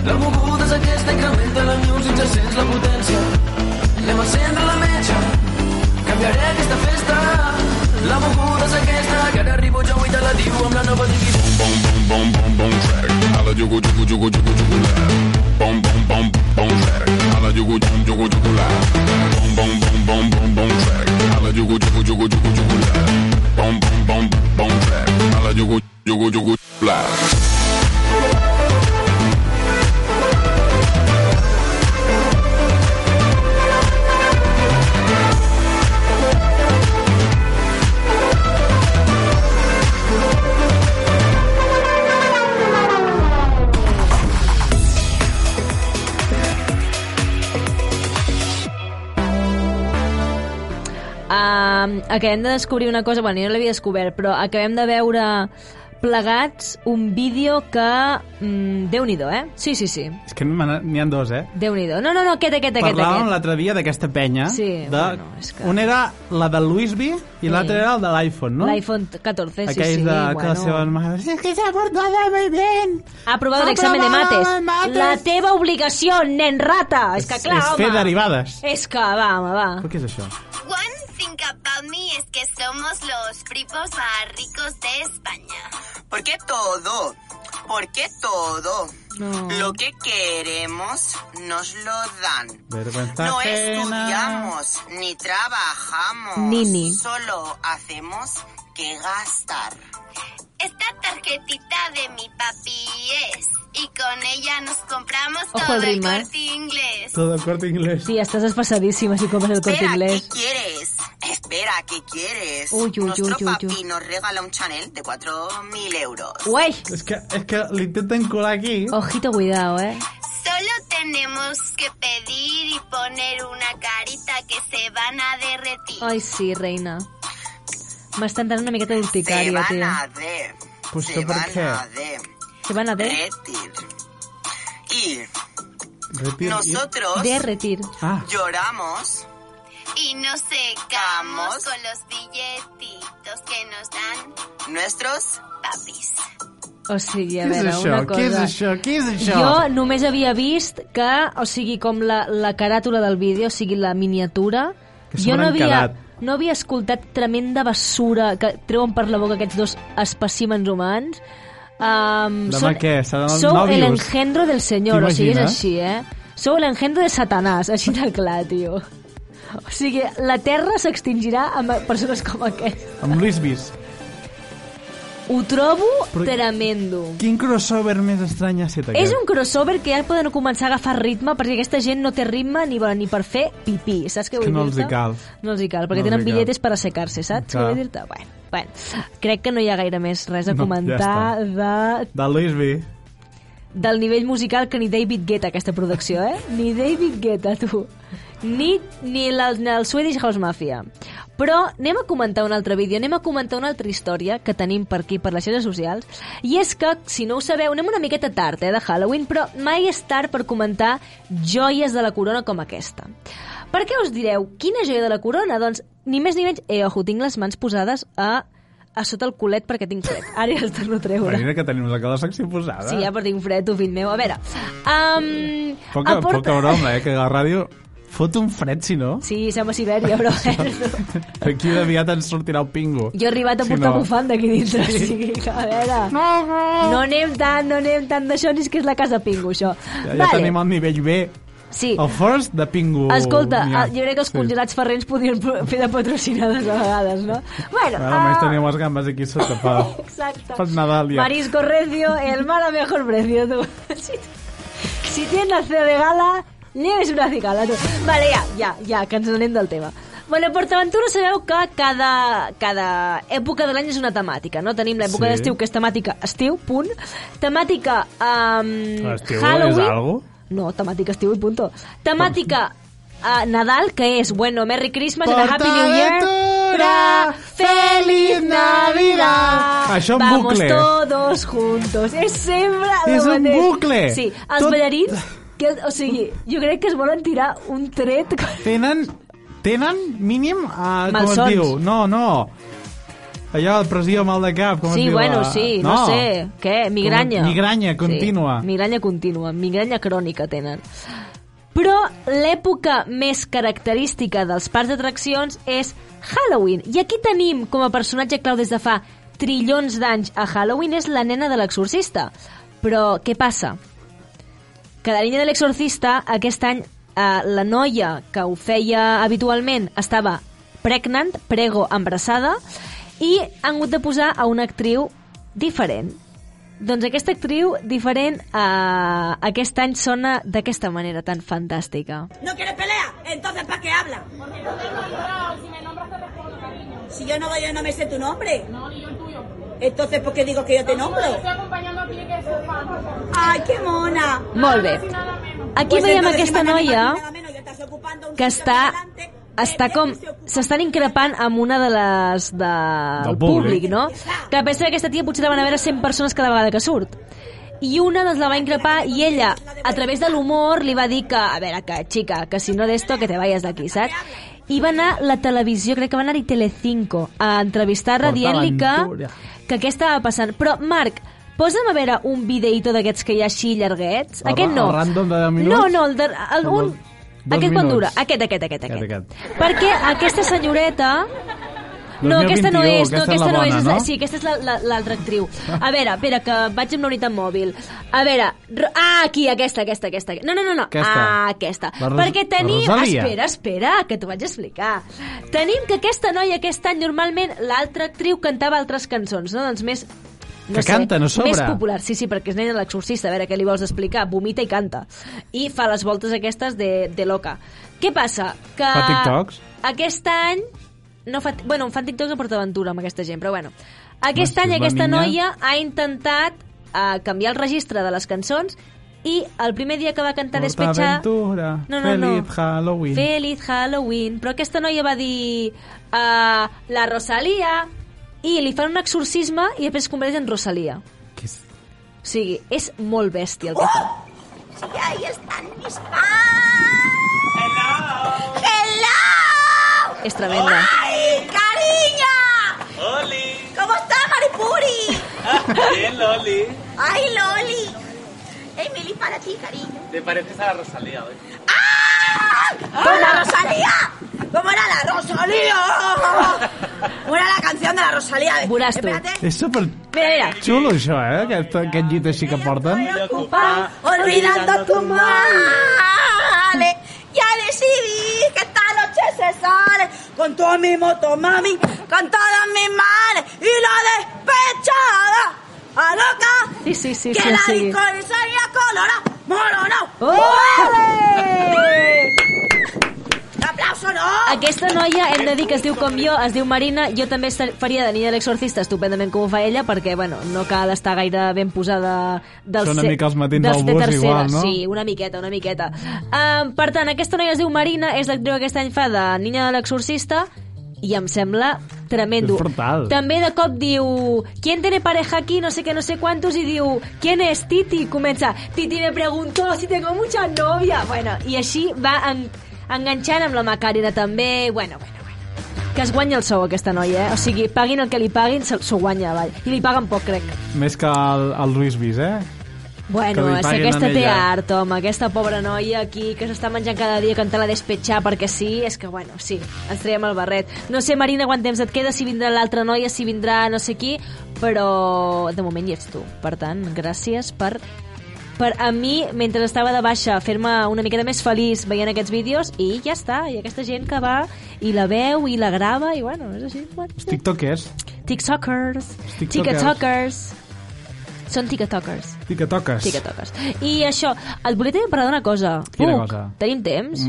La moguda és aquesta, incrementa la music, ja sents la potència. Anem a encendre la metge. Canviaré aquesta festa. La moguda és aquesta, que ara arribo jo i te la diu amb la nova divisió. Bom, bom, bom, bom, bom, track. Hala, jugo, jugo, jugo, jugo, jugo, la. Bom, bom, bom, bom, track. Hala, jugo, jugo, jugo, jugo, la. Bom, bom, bom, bom, bom, bom, track. Hala, jugo, jugo, jugo, jugo, jugo, la. Bom, bom, bom, bom, track. Hala, jugo, jugo, jugo, jugo, la. Um, acabem de descobrir una cosa, bueno, jo no l'havia descobert, però acabem de veure plegats un vídeo que... Mm, Déu-n'hi-do, eh? Sí, sí, sí. És que me n'ha- n'hi ha dos, eh? Déu-n'hi-do. No, no, no, aquest, aquest, aquest. Parlàvem aquest. l'altre dia d'aquesta penya. Sí, de... bueno, és que- Un era la del Luisby i Sí. l'altre era el de l'iPhone, no? L'iPhone 14, sí, Aquells sí. de que bueno. la seva mare... És que s'ha portat molt bé. Ha aprovat Ha l'examen de aprovat mates. el mates. La teva obligació, nen rata. És que clar, és home. Eh. fer derivades. És que va, home, va. Però què és això? One thing about me es que somos los primos más ricos de España. ¿Por qué todo? ¿Por qué todo? No. Lo que queremos nos lo dan. Vergüenza No ajena. estudiamos ni trabajamos. Nini. Solo hacemos que gastar. Esta tarjetita de mi papi es. Y con ella nos compramos Ojo todo al el rimar. corte inglés. Todo corte inglés. Sí, estàs espasadíssima si compres el corte Espera, ¿qué inglés. quieres? Espera, ¿qué quieres? Uy, uy, uy, Nuestro uy, uy. papi nos regala un Chanel de 4.000 euros. Uai, És que, és que l'intenten colar aquí. ojito cuidado, eh? Solo tenemos que pedir y poner una carita que se van a derretir. Ai, sí, reina. M'està entrant una miqueta Se d'urticària, van tio. a de. Pues se ¿yo por van qué? a de. Se van a de Retir. Y Repeat. nosotros derretir. Ah, lloramos. Y nos secamos con los billetitos que nos dan Nuestros papis. O sigui, a què és veure, això? una Què és cosa... això? Què és això? Jo només havia vist que, o sigui, com la, la caràtula del vídeo, o sigui, la miniatura... Que jo s'hauran no havia, quedat. no havia escoltat tremenda bessura que treuen per la boca aquests dos espècimens humans. Um, Demà què? Seran els Sou nòvios? el engendro del senyor, o sigui, és T'imagines? així, eh? Sou el engendro de Satanàs, així de clar, tio. O sigui, la Terra s'extingirà amb persones com aquest. Amb Luis Bis. Ho trobo Però- tremendo. Quin crossover més estrany ha estat És aquest? un crossover que ja poden començar a agafar ritme perquè aquesta gent no té ritme ni, bueno, ni per fer pipí, saps què que vull dir-te? no els hi cal. No els hi cal, perquè No els tenen hi cal. billetes per assecar-se, saps què Clar. vull dir-te? Bueno, bueno, crec que no hi ha gaire més res a No, ja comentar de, De Luis B. del nivell musical que ni David Guetta aquesta producció, eh? Ni David Guetta, tu. Ni, ni, la, ni el Swedish House Mafia. Però anem a comentar un altre vídeo, anem a comentar una altra història que tenim per aquí, per les xarxes socials, i és que, si no ho sabeu, anem una miqueta tard, eh, de Halloween, però mai és tard per comentar joies de la corona com aquesta. Per què us direu, quina joia de la corona? Doncs, ni més ni menys, eh, ojo, tinc les mans posades a, a sota el culet perquè tinc fred. Ara ja els torno a treure. Imagina que tenim la cada secció posada. Sí, ja per tinc fred, tu, fill meu. A veure... Um, Poca, poca broma, eh, que la ràdio fot un fred, si <laughs> no. Sí, som a Sibèria, però... Aquí d'aviat ens sortirà el pingo. jo he arribat a Si portar no- bufanda aquí dintre, sí. o sigui que, a veure... No, no. no anem tant, no anem tant d'això, ni és que és la casa Pingu, això. Ja, ja tenim el nivell B. Sí. El Oh, first de pingo. Escolta, n'hi ha. eh, jo crec que els congelats ferrents podrien pro- fer de patrocinades a vegades, no? Bueno, Bueno, almenys ah, tenim les gambes aquí sota pa... <laughs> Exacte. Per Nadal, ja. Marisco recio, el mar a mejor precio, tú. Si, si tienes acero de gala, lleves una cigala, tú. Vale, ja, ja, ja, que ens n'anem del tema. Bueno, a PortAventura sabeu que cada, cada època de l'any és una temàtica, no? Tenim l'època Sí. d'estiu, que és temàtica estiu, punt. Temàtica um, Ah, Estiu és Halloween. algo? No, temàtica estiu i punto. Temàtica uh, Nadal, que és, bueno, Merry Christmas and a Happy New Year. PortAventura, feliz Navidad. Això en Vamos bucle. eh? todos juntos. És sempre el És un mateix. bucle. Sí, els Tot- Tot... ballarins, que, o sigui, jo crec que es volen tirar un tret... Tenen... Tenen mínim... Uh, com es Malsons. diu? No, no. Allò, pressió, mal de cap, com es Sí, diu? Ah, bueno, la- sí, no, sé. Què? Migranya. Com- migranya contínua. Sí, migranya contínua, migranya crònica tenen. Però l'època més característica dels parcs d'atraccions és Halloween. I aquí tenim com a personatge clau des de fa trillons d'anys a Halloween és la nena de l'exorcista. Però què passa? que la línia de l'exorcista aquest any eh, la noia que ho feia habitualment estava pregnant, prego, embarassada i han hagut de posar a una actriu diferent. Doncs aquesta actriu diferent eh, aquest any sona d'aquesta manera tan fantàstica. ¿No quieres pelea? Entonces, ¿para qué hablas? Porque no te he encontrado. Si me nombras, te respondo, cariño. Si yo no, yo no me sé tu nombre. No, ni yo el tuyo. Entonces, ¿por qué digo que yo te nombro? Estoy acompañando a ti, que es ¡Ay, qué mona! Molt bé. Aquí Pues veiem entonces, aquesta nada más ni noia... nada menos, ya estás ocupando un que sitio està por delante de- està de- com... que Eh, se ocupa- s'estan increpant amb una de les de... del públic, públic. no? Que pensa que aquesta tia potser la van a veure 100 persones cada vegada que surt. I una doncs la va increpar i ella, a través de l'humor, li va dir que, a veure, que, xica, que si no d'esto, que te vayas d'aquí, saps? I va anar la televisió, crec que va anar-hi Telecinco, a entrevistar-la dient-li que, PortAventura. que què estava passant. Però, Marc, posa'm a veure un videito d'aquests que hi ha així llarguets. El ra- Aquest no. el random de deu minuts? No, no, el, de, el, Com el- un... dos Aquest quan minuts. dura? Aquest, aquest, aquest, Aquest, aquest. Perquè aquesta senyoreta... No, 2021, aquesta no és, no, aquesta és la aquesta no és, bona, és la- no? sí, aquesta és la- la- l'altra la, actriu. A veure, espera, que vaig amb la unitat mòbil. A veure, ro- ah, aquí, aquesta, aquesta, aquesta. No, no, no, no. Aquesta. Ah, aquesta. La Ros- Perquè tenim... la Rosalia. Espera, espera, que t'ho vaig explicar. Tenim que aquesta noia aquest any normalment l'altra actriu cantava altres cançons, no? Doncs més... No Que sé, canten a sobre. Més popular, sí, sí, perquè és nena de l'exorcista, a veure què li vols explicar. Vomita i canta. I fa les voltes aquestes de, de loca. Què passa? Que Fa TikToks? Aquest any... No fa, bueno, en fan TikToks a PortAventura amb aquesta gent, però bueno. Aquest Hòstia, any és la aquesta niña. noia ha intentat eh, canviar el registre de les cançons i el primer dia que va cantar despechada... PortAventura, feliz Halloween. Feliz Halloween. Però aquesta noia va dir uh, la Rosalia i li fan un exorcisme i després es converteix en Rosalia. Que és- O sigui, és molt bèstia el que fa. Sí, ahí están mis fans. Hello. Hello. És tremenda. ¡Ay, cariño! ¿Cómo está Maripuri? <laughs> Bien, Loli. ¡Ay, Loli! Emily, para ti, cariño. ¡Ah! Te pareces a la Rosalía hoy. ¡Toma, Rosalía! ¿Cómo era la Rosalía? ¿Cómo era la canción de la Rosalía? De... Veuràs tu. Espérate. És super Mira, mira. xulo, això, eh? Aquest, aquest llit així que porten. Ocupa, olvidando tu males. Ya decidí que esta noche se sale con todo mi moto, mami, con todos mis males y la despechada. A loca, Sí, sí, sí, que sí, la sí. discoisaría colora, moro no. Ole! ¡Aplauso no! Aquesta noia, hem de dir que es diu com jo, es diu Marina, jo també ser- faria de nina de l'exorcista estupendament com ho fa ella, perquè, bueno, no cal estar gaire ben posada del Són una ser- mica els matins del del ser bus tercera. igual, no? Sí, una miqueta, una miqueta. Um, per tant, aquesta noia es diu Marina, és l'actriu que aquest any fa de nina de l'exorcista, i em sembla tremendo. És brutal. També de cop diu ¿Quién tiene pareja aquí? No sé qué, no sé cuántos y diu ¿Quién es Titi? I Comença Titi me preguntó si tengo mucha novia. Bueno, i així va en, enganxant amb la Macarena també. Bueno, bueno, bueno. Que es guanya el sou aquesta noia, eh? O sigui, paguin el que li paguin, se- s'ho guanya, avall. I li paguen poc, crec. Més que el, el Luis Vis, eh? Bueno, Que li és que paguin aquesta a té ella. art, home. Aquesta pobra noia aquí que s'està menjant cada dia cantar la despetxar perquè sí, és que, bueno, sí, ens traiem el barret. No sé, Marina, quant temps et queda, si vindrà l'altra noia, si vindrà no sé qui, però de moment hi ets tu. Per tant, gràcies per per a mi, mentre estava de baixa, fer-me una miqueta més feliç veient aquests vídeos i ja està, i aquesta gent que va i la veu i la grava i bueno, és així. Bueno, Els tiktokers. TikTokers, tiktokers. TikTokers, són TikTokers. Tiktoques. Sí que toques. I això, et volia també parlar d'una cosa. Quina Puc? cosa? Mm. Tenim temps?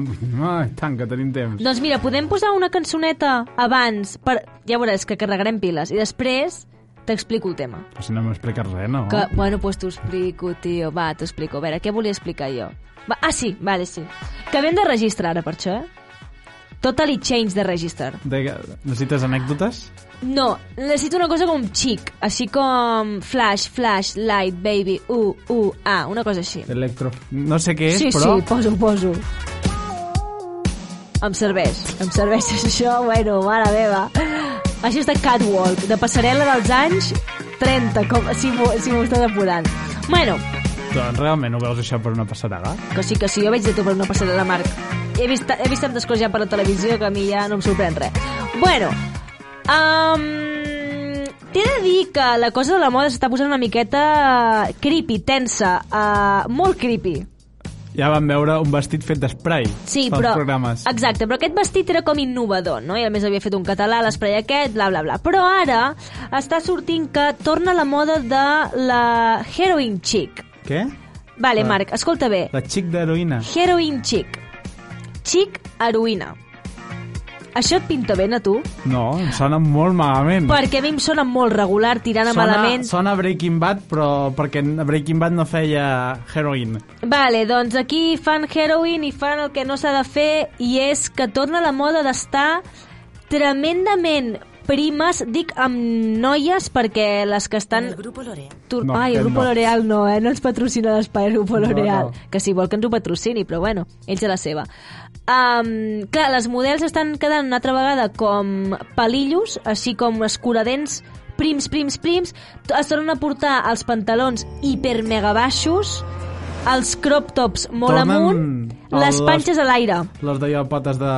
Ai, tant, que tenim temps. Doncs mira, podem posar una cançoneta abans per... Ja veuràs que carregarem piles i després t'explico el tema. Però si no m'expliques res, no? Que, bueno, pues t'ho explico, tio. Va, t'ho explico. A veure, què volia explicar jo? Va, ah, sí, vale, sí. Que vam de registre ara per això, eh? Totally change de register. De... Necessites anècdotes? No, necessito una cosa com chic, així com flash, flash, light, baby, uh, uh, ah, una cosa així. Electro... No sé què és, sí, però... sí, poso, poso. Em serveix, em serveix <laughs> això, bueno, mare meva. Això és de Catwalk, de passarel·la dels anys 30, com, si m'ho si m'ho estàs apurant. Bueno, Doncs realment ho veus això per una passarel·la? que sí, que sí, jo veig de tu per una passarel·la, Marc. He vist, he vist tantes coses ja per la televisió que a mi ja no em sorprèn res. Bueno, um, t'he de dir que la cosa de la moda s'està posant una miqueta creepy, tensa, uh, molt creepy. Ja vam veure un vestit fet d'esprai Sí, als però... programes. Exacte, però aquest vestit era com innovador, no? I a més havia fet un català, l'espray aquest, bla, bla, bla. Però ara està sortint que torna la moda de la heroin chic. Què? Vale, Ah. Marc, escolta bé. La xic d'heroïna. Heroin chic. Chic, heroïna. Això et pinta ben a tu? No, em sona molt malament. Perquè a mi em sona molt regular, tirant a malament. Sona Breaking Bad, però perquè a Breaking Bad no feia heroïn. Vale, doncs aquí fan heroin i fan el que no s'ha de fer i és que torna la moda d'estar tremendament primes, dic amb noies perquè les que estan... El grupo L'Oreal. Tur... No, No, Ai, el aquest grupo no. L'Oreal no, eh? No ens patrocina l'espai el grupo No, L'Oreal. no. Que si vol que ens ho patrocini, però bueno, ells a la seva. Um, clar, les models estan quedant una altra vegada com palillos, així com escuradents prims, prims, prims, T- es tornen a portar els pantalons hiper mega baixos, els crop tops molt Tornen amunt, a les les- panxes a l'aire. Les deia potes de...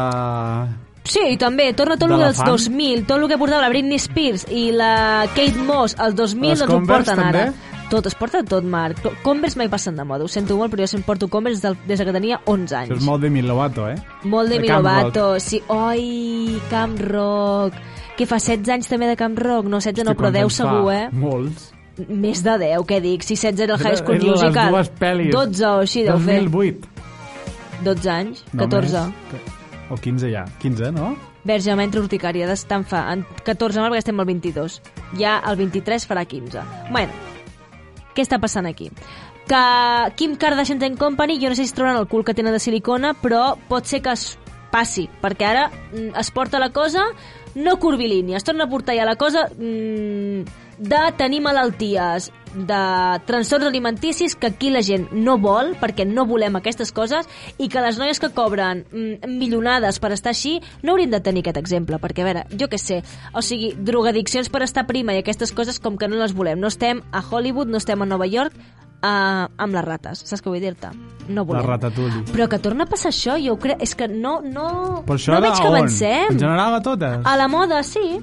Sí, i també, torna tot el dels D'elefant. 2000, tot el que portava la Britney Spears i la Kate Moss als 2000, Les doncs ho Converse, porten ara. també? Tot, es porta tot, Marc. Co- Converse mai passen de moda, ho sento molt, però jo sempre porto Converse del, des que tenia 11 anys. Això és molt de Milovato, eh? Molt de, De de Camp Milovato, sí. Oi, Camp Rock. Que fa 16 anys també de Camp Rock. No, 16 no, però 10 segur, eh? Molts. Més de 10, què dic? Si 16 era el eh? High School Era- era Musical. Les dues pel·lis. 12 o així deu fer. 2008. 12 anys, 14. Només. Que- O 15 ja. 15, no? Verge, mentre urticària, d'estan fa en 14 març, perquè estem al 22. Ja el 23 farà 15. Bueno, què està passant aquí? Que Kim Kardashian and Company, jo no sé si es troben el cul que tenen de silicona, però pot ser que es passi, perquè ara mm, es porta la cosa no curvilínia, es torna a portar ja la cosa mm, de tenir malalties, de trastorns alimenticis que aquí la gent no vol perquè no volem aquestes coses i que les noies que cobren mm, milionades per estar així no haurien de tenir aquest exemple perquè a veure, jo què sé, o sigui drogadiccions per estar prima i aquestes coses com que no les volem no estem a Hollywood, no estem a Nova York eh, amb les rates. Saps què vull dir-te? La No volem. ratatouille. Però que torna a passar això, jo ho crec... És que no, no, Però això no era veig que on? avancem. Ah. En general a totes? A la moda, sí.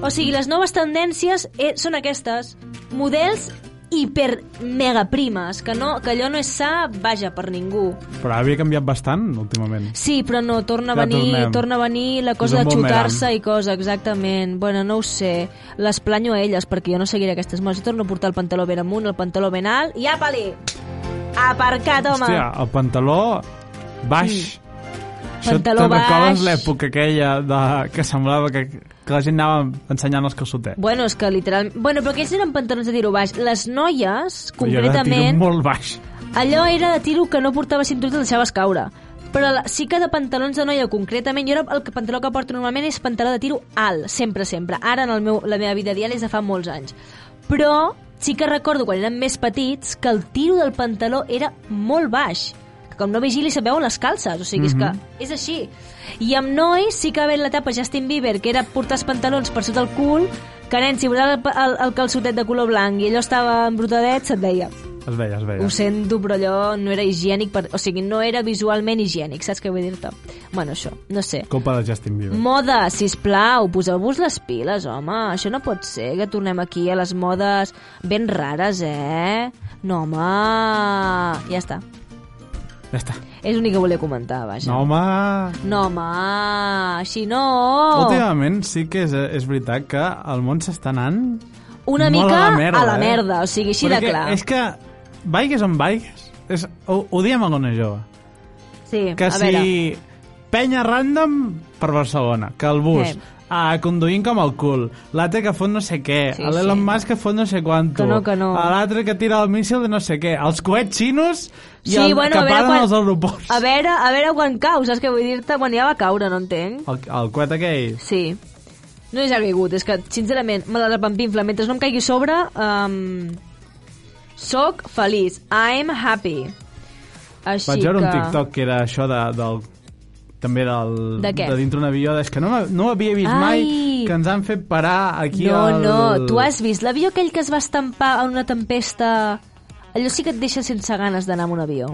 O sigui, les noves tendències eh, són aquestes. Models hiper mega primes, que, no, que allò no és sa, vaja, per ningú. Però havia canviat bastant últimament. Sí, però no, torna a Ja venir, tornem. torna a venir la cosa És un de boomerang. xutar-se i cosa, exactament. Bueno, no ho sé. Les planyo a elles perquè jo no seguiré aquestes modes. Jo torno a portar el pantaló ben amunt, el pantaló ben alt i apa-li! Aparcat, home! Hòstia, el pantaló baix. Sí. Això Pantaló te'n recordes baix. l'època aquella de, que semblava que, que la gent anava ensenyant els calçotets. Bueno, és que literalment... Bueno, però aquells eren pantalons de tiro baix. Les noies, Jo era concretament, molt baix. allò era de tiro que no portava cinturó i te'l deixaves caure. Però la, sí que de pantalons de noia, concretament, jo era, el que- pantaló que porto normalment és pantaló de tiro alt, sempre, sempre. Ara, en el meu, la meva vida diària és de fa molts anys. Però sí que recordo, quan érem més petits, que el tiro del pantaló era molt baix. Que com no vigili se veuen les calces, o sigui, mm -hmm. Mhm. és que és així. I amb nois sí que va haver l'etapa Justin Bieber, que era portar els pantalons per sota el cul, que nen, si posava el, el, el calçotet de color blanc i allò estava embrotadet, se't deia. Es veia, es veia. Ho sento, però allò no era higiènic, per... o sigui, no era visualment higiènic, saps què vull dir-te? Bueno, això, no sé. Copa de Justin Bieber. Moda, si us plau, poseu-vos les piles, home. Això no pot ser que tornem aquí a les modes ben rares, eh? No, home. Ja està. Ja està. És l'únic que volia comentar, vaja. No, home... No, home. Així no. Últimament sí que és, és veritat que el món s'està anant Una molt mica a la merda, a la eh? merda, o sigui, així de Perquè clar. És que vaigues on vaigues, és, ho, ho diem a Gona Jove. Sí, que a si veure. penya random per Barcelona, que el bus, Eh. a conduint com el cul, l'altre que fot no sé què, Sí, sí, l'Elon sí. Musk que fot no sé quanto, Que no, que no. a l'altre que tira el míssil de no sé què, els coets xinos i el, que paren als aeroports. A veure, a veure quan cau, saps què vull dir-te? Quan ja va caure, no entenc. El, el coet aquell. Sí. No és ha caigut, és que, sincerament, me la repampinfla. Mentre no em caigui a sobre, um, soc feliç. I'm happy. Així Vaig veure que... un TikTok que era això de, del també del, De què? de dintre un avió és que no, m'ha- no havia vist Ai! mai que ens han fet parar aquí No, al... no, tu has vist l'avió aquell que es va estampar en una tempesta... Allò sí que et deixa sense ganes d'anar amb un avió.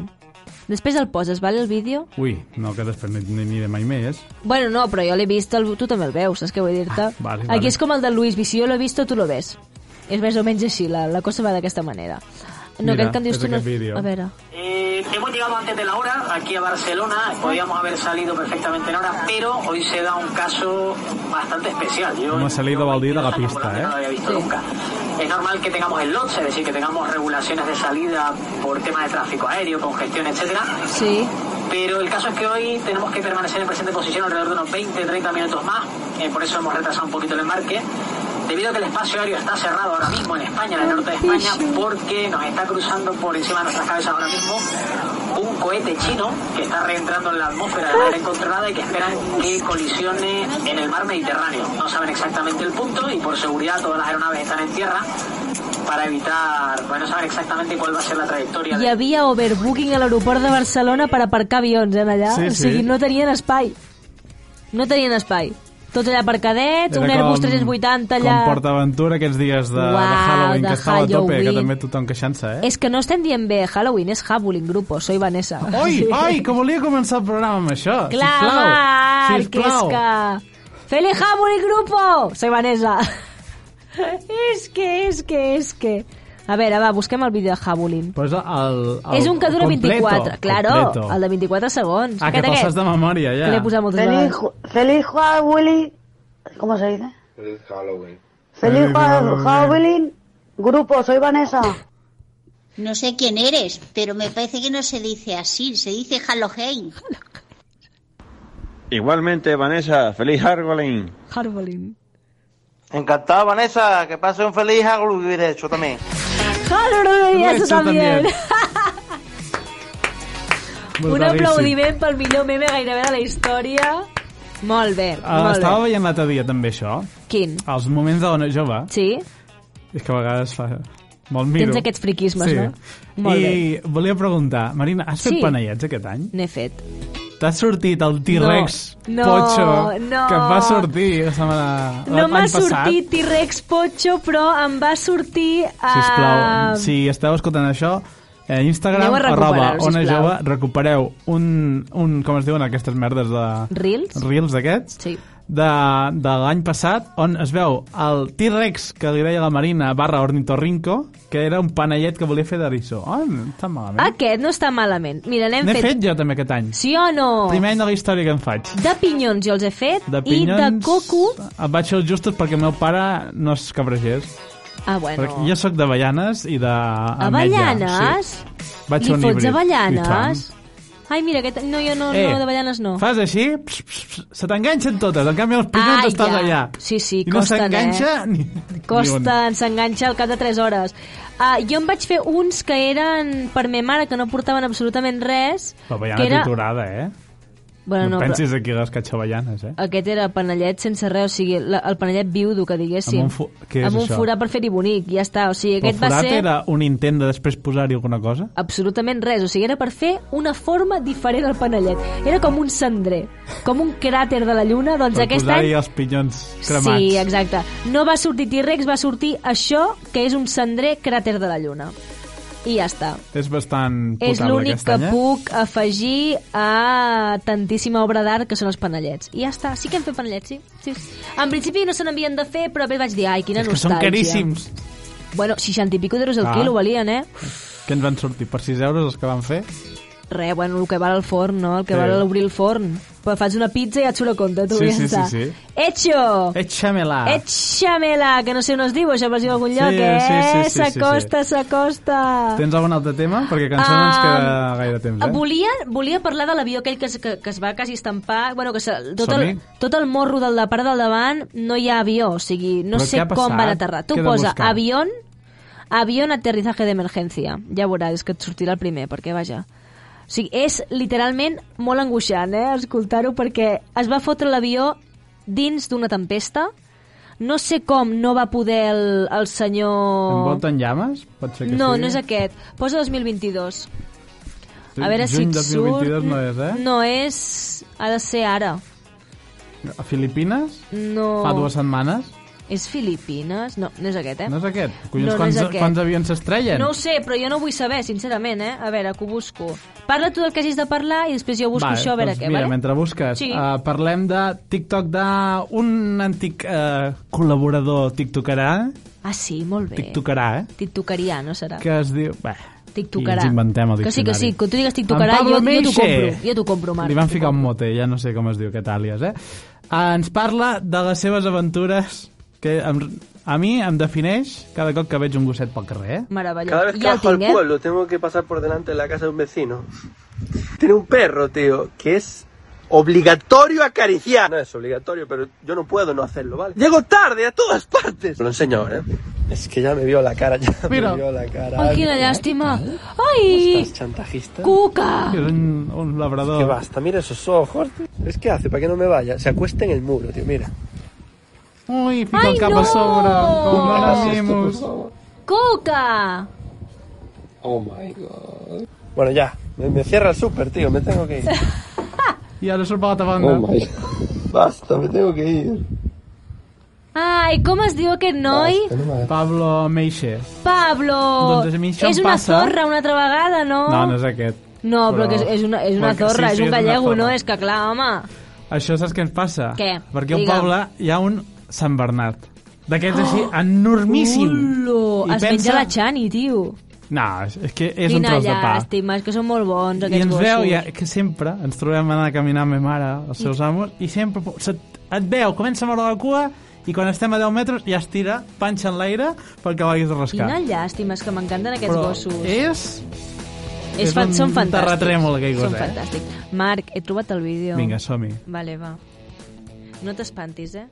Després el poses, vale, el vídeo? Ui, no, que després ni, ni, ni de mai més Bueno, no, però jo l'he vist, el... tu també el veus, saps què vull dir-te? Ah, vale, Aquí vale. és com el de Luis, si jo l'he vist, tu lo ves. És més o menys així, la, la cosa va d'aquesta manera. No, Mira, aquest que em dius és tu... No... aquest vídeo. A veure... Eh, hemos llegado antes de la hora aquí a Barcelona, podíamos haber salido perfectamente en hora, pero hoy se da un caso bastante especial. Yo m'ha salit de Valdir de la pista no lo había eh? visto nunca. Es normal que tengamos el LOTS, es decir, que tengamos regulaciones de salida por temas de tráfico aéreo, congestión, etcétera. Sí. Pero el caso es que hoy tenemos que permanecer en presente posición alrededor de unos 20-30 minutos más, eh, por eso hemos retrasado un poquito el embarque. Debido a que el espacio aéreo está cerrado ahora mismo en España, en el norte de España, porque nos está cruzando por encima de nuestras cabezas ahora mismo un cohete chino que está reentrando en la atmósfera de manera incontrolada y que esperan que colisione en el mar Mediterráneo. No saben exactamente el punto y por seguridad todas las aeronaves están en tierra para evitar, bueno, saber exactamente cuál va a ser la trayectoria. Hi havia overbooking a l'aeroport de Barcelona per aparcar avions, en allà. Sí, o sigui, sí. no tenien espai. No tenien espai. Tots allà aparcadets, Era un Airbus com- 380 allà... Com PortAventura aquests dies de, Uau, de Halloween de que estava a tope, que Halloween. també tothom queixant-se, eh? És que no estem dient bé Halloween, és Halloween, grupo, soy Vanessa. Oh, Oi, oi, que volia començar el programa amb això, Clar, sisplau. Marc, que és sisplau. que... ¡Feliz Halloween, grupo! Soy Vanessa. <laughs> és que, és que, és que... A veure, va, busquem el vídeo de Halloween. Pues el, el, és un que dura completo, 24, claro, completo. el de 24 segons. Ah, que te'l saps de memòria, ja. Que l'he posat moltes Feliz, vegades. ju- feliz Halloween. ¿Cómo se dice? Feliz Halloween. Feliz Feliz Halloween. Halloween. Grupo, soy Vanessa. No sé quién eres, pero me parece que no se dice así, se dice Halloween. Igualmente, Vanessa, feliz Halloween. Halloween. Encantado, Vanessa. Que pase un feliz Halloween hecho también. Halloween, Ho he eso hecho también. también. un Brutalíssim. aplaudiment pel millor meme gairebé de la història. Molt bé, Ah, molt estava bé. veient l'altre dia, també, això. Quin? Els moments de dona jove. Sí? És que a vegades fa... Me'l miro. Tens aquests friquismes, sí. no? Molt I volia preguntar, Marina, has fet Sí. panellets aquest any? N'he fet. T'ha sortit el T-Rex No, no, Pocho no. que em va sortir la setmana No Ah, l'any m'ha passat. sortit T-Rex Pocho, però em va sortir... Uh... Sisplau, si esteu escoltant això, eh, Instagram, Aneu a arroba, recuperar-ho, ona sisplau. jove, recupereu un, un, com es diuen aquestes merdes de... Reels? Reels d'aquests? Sí. De, de l'any passat, on es veu el T-Rex que li deia la Marina barra ornitorrinco, que era un panellet que volia fer d'eriçó. Oh, no està malament. Aquest no està malament. Mira, n'hem N'he Ah, fet... fet... jo també aquest any. Sí o no? Primer any de la història que em faig. De pinyons jo els he fet. De I de pinyons- coco... Em vaig fer els justos perquè el meu pare no és cabrejés. Ah, bueno. Perquè jo sóc d'avellanes i de... Avellanes? Sí. Vaig Li a un fots híbrid. I avellanes? tant. Ai, mira, aquest... no, jo no, Eh, no d'avellanes no. Fas així, ps, ps, ps, se t'enganxen totes. En canvi, els pinyons Ai, estan ja. allà. Sí, sí, I no costen, s'enganxa eh? ni, ni Costen, s'enganxa al cap de 3 hores. Ah, jo em vaig fer uns que eren per me mare, que no portaven absolutament res. un. L'avellana que era... era... triturada, eh? Bueno, no, no, pensis però aquí les catxavellanes, eh? aquest era panellet sense res, o sigui, la, el panellet viudo, que diguéssim. Amb un fu- què és amb un això? forat per fer-hi bonic, ja està. O sigui, Però el aquest va forat ser... Doncs era un intent de després posar-hi alguna cosa? absolutament res, o sigui, era per fer una forma diferent al panellet. Era com un cendrer, com un cràter de la Lluna, doncs per aquest posar-hi any... els pinyons cremats. Sí, exacte. No va sortir T-Rex, va sortir això, que és un cendrer cràter de la Lluna. I ja està. És bastant potable és l'únic aquest que any, eh? puc afegir a tantíssima obra d'art que són els panellets. I ja està, sí que hem fet panellets, sí. sí. En principi no se n'havien de fer, però bé vaig dir, ai, quina És que nostàlgia. són caríssims. Bueno, 60 i pico d'euros el Ah. quilo valien, eh? Que ens van sortir per 6 euros els que van fer. Re, bueno, el que val el forn, no? El que Sí. val obrir el forn. Però fas una pizza i ja et surt a compte, tu, Sí, ja sí, està. sí, sí. Hecho! Échamela. Échamela, que no sé on es diu, això per si algun Sí, lloc, eh? sí, sí, sí, sí, s'acosta, s'acosta. Tens algun altre tema? Perquè cançó no ens Ah, queda gaire temps, Ah, eh? Volia, volia parlar de l'avió aquell que, es- que, que es va quasi estampar. Bueno, que se, tot, Som-hi. el, tot el morro del de part del davant no hi ha avió, o sigui, no Però què sé ha com passat? van aterrar. Tu Què he de posa buscar? avión, avión aterrizaje d'emergència. Ja veuràs que et sortirà el primer, perquè vaja. O sigui, és literalment molt angoixant, eh, escoltar-ho, perquè es va fotre l'avió dins d'una tempesta. No sé com no va poder el, el senyor... Envolta en llames? Pot ser que No, sigui? no és aquest. Posa 2022. Sí, A Juny veure si et 2022 surt... no és, eh? No és... Ha de ser ara. A Filipines? No... Fa dues setmanes? És Filipines? No, no és aquest, eh? No és aquest? Collons, No, no quants, és aquest. quants avions s'estrellen? No ho sé, però jo no vull saber, sincerament, eh? A veure, que ho busco. Parla tu del que hagis de parlar i després jo busco Vale, això, a veure doncs què, mira, vale? mentre busques, Sí. eh, parlem de TikTok d'un antic eh, col·laborador tiktokerà, Ah, sí, molt bé. tiktokerà, eh, TikTokaria, no serà? que es diu... Bé, I TikTokarà. ens inventem el Que sí, que diccionari. sí, que tu digues En TikTokarà, Pablo jo, jo t'ho Meixe. compro. Jo t'ho compro, Marc. Li van ficar un mote, ja no sé com es diu aquest àlies, eh? Eh, Ens parla de les seves aventures, que em, a mi em defineix cada cop que veig un gosset pel carrer, eh? Meravellós. Cada vez que ja el bajo al tinc, eh? pueblo tengo que pasar por delante de la casa de un vecino. Tiene un perro, tío, que es obligatorio acariciar. No es obligatorio, pero yo no puedo no hacerlo, ¿vale? Llego tarde a todas partes. Te Lo enseño ahora, ¿eh? Es que ya me vio la cara, <laughs> ya Mira. me vio la cara. Ai, quina llàstima. Ai, chantajista? cuca! Es un, labrador. Es que basta, mira esos ojos. tío. Es que hace para que no me vaya. Se acuesta en el muro, tío, mira. Ui, fica Ai, el cap no! a sobre, com no l'anemus. Cuca! Oh my god. Bueno, ya. Me, me cierra el súper, tío, me tengo que ir. I ara surt per l'altra banda. Oh my Basta, me tengo que ir. Ai, com es diu aquest noi? Pablo Meixe. Pablo! Doncs a mi això em és una passa. zorra una altra vegada, no? No, no és aquest. No, però, que és, és una, és una Però que- zorra, sí, sí, és un és una gallego, zorra. no? És que clar, home... Això saps què ens passa? Què? Perquè a un Digue'm. poble hi ha un Sant Bernat. D'aquests així, enormíssim. Ullo, I es pensa- menja la Xani, tio. No, és- és que és un tros de pa. llàstima, és que són molt bons I aquests ens gossos. veu ja, que sempre ens trobem anant a caminar amb ma mare, els seus amos, i sempre po- se't, et veu, comença a moure la cua i quan estem a 10 metres ja es tira, panxa en l'aire perquè l'haguis de rascar. Quina llàstima, és que m'encanten aquests Però gossos. és- és és fan, un són fantàstics. terratrèmol, aquell gos, Són eh? fantàstics. Marc, he trobat el vídeo. Vinga, som-hi. Vale, va. No t'espantis, eh?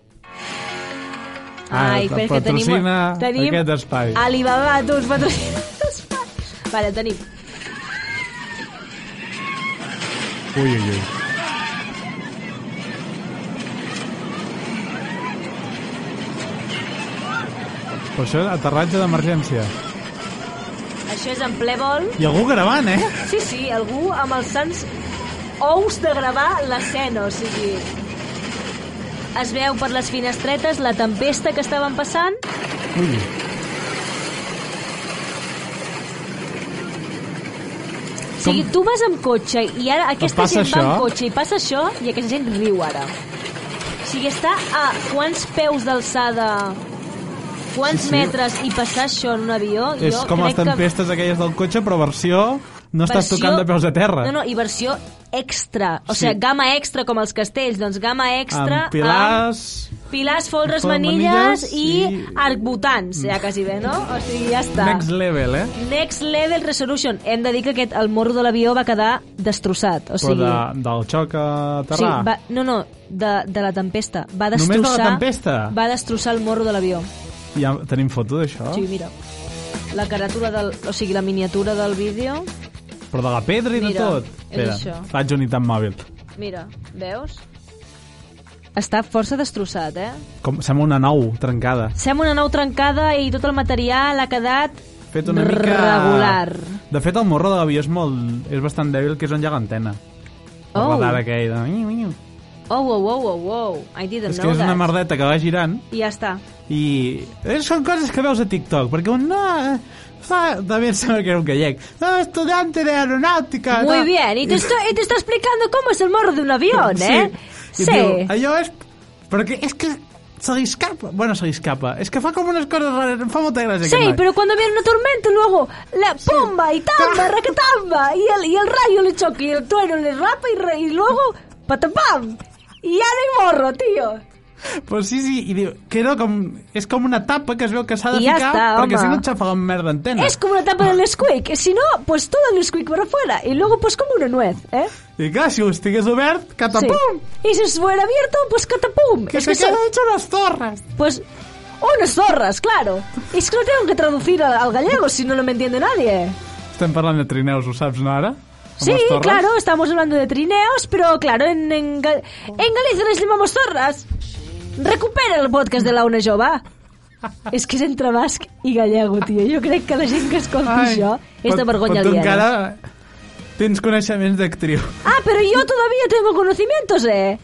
Ah, Ai, però és que tenim- patrocina tenim- aquest espai. Alibaba, tu, els <laughs> patrocines. Vale, el tenim. Ui, ui, ui. Però això és aterratge d'emergència. Això és en ple vol. I algú gravant, eh? Sí, sí, algú amb els sants ous de gravar l'escena, o sigui... Es veu per les finestretes la tempesta que estaven passant Ui. O sigui, tu vas amb cotxe i ara aquesta passa gent va això? amb cotxe i passa això i aquesta gent riu ara. O sigui, està a quants peus d'alçada, quants Sí, sí. metres i passar això en un avió... És jo com les crec tempestes aquelles del cotxe, però versió... No que estàs versió- tocant de peus a terra. No, no, i versió extra. O Sí. sigui, gamma extra, com els castells. Doncs gamma extra... Amb pilars... Amb pilars, Folres, folres, manilles, manilles i, arcbotants, ja quasi bé, no? O sigui, ja està. Next level, eh? Next Level Resolution. Hem de dir que aquest, el morro de l'avió va quedar destrossat. O sigui, Però de, del xoc a terra. sí, va, no, no, de, de la tempesta. Va Només de la destrossar, tempesta? Va destrossar el morro de l'avió. Ja tenim foto d'això? Sí, mira. La caratura del... O sigui, la miniatura del vídeo... Però de la pedra i de Mira, tot? és Espera, això. faig un item mòbil. Mira, veus? Està força destrossat, eh? Com, sembla una nou trencada. Sembla una nau trencada i tot el material ha quedat Fet una mica... regular. De fet, el morro de l'avió és, molt, és bastant dèbil, que és on hi ha l'antena. La Oh. radar aquell de... Oh, wow, wow, wow, wow. I didn't És que know és una that. merdeta que va girant I ja està. i... eh, Són coses que veus a TikTok, perquè un... No, eh, fa... També em sembla que era un gallec. No, estudiante de aeronàutica. Muy Ah, no. bien, y te, estoy, y te está explicando cómo es el morro de un avión, Sí. ¿eh? I Sí. diu, allò és... Perquè és que se li escapa. Bueno, se li escapa. És que fa com unes coses rares. Em fa molta gràcia Sí, aquest noi. pero cuando viene una tormenta, luego la pomba y Ah. tamba, raquetamba, y el, y el rayo le choca, y el trueno le rapa, y, re- y luego patapam, y ya no hay morro, tío. Però sí, sí, i diu, que era com... És com una tapa que es veu que s'ha de I ja ficar està, perquè home. si no et xafa la merda antena. Es como la tapa del Nesquik, si no, pues todo el Nesquik para afuera, y luego pues como una nuez, ¿eh? I clar, si ho estigués obert, catapum! Sí. Y si estuviera abierto, pues catapum. Que se queda hecho unas zorras. Pues unas zorras, claro. Es que lo tengo que traducir al, al gallego si no, no me entiende nadie. Estem parlant de trineus, ho saps, no, ara? Amb Sí, les torres. claro, estamos hablando de trineos, pero claro, en, en, Ga- en Galicia les llamamos zorras. Recupera el podcast de la Una Jove. és que és entre basc i gallego, tio. Jo crec que la gent que escolta Ai, això és de Però- però vergonya tu aliena. encara tens coneixements d'actriu. Ah, pero yo todavía tengo conocimientos, eh?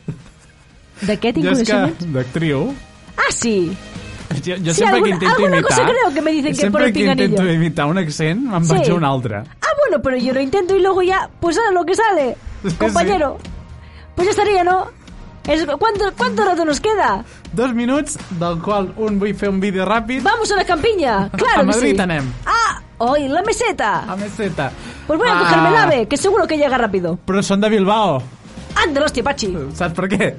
¿De qué tengo Jo és que... conocimientos? D'actriu? Ah, sí. Jo, jo Sí, sempre que alguna- intento alguna imitar... cosa creo que me dicen que por sempre el que intento pinganillo. imitar un accent, me'n Sí. vaig a un altre. Ah, bueno, pero yo lo intento y luego ya, pues ahora lo <laughs> que sale, compañero. Pues ya estaría, ¿no? Es- ¿Cuánto, ¿Cuánto rato nos queda? Dos minuts, del qual un vull fer un vídeo ràpid. Vamos a la campiña, <laughs> claro a que sí. Madrid anem. Ah, hoy la meseta. A meseta. Pues voy a Ah. cogerme el ave, que seguro que llega rápido. Però són de Bilbao. Anda, hostia, Pachi. Saps per què?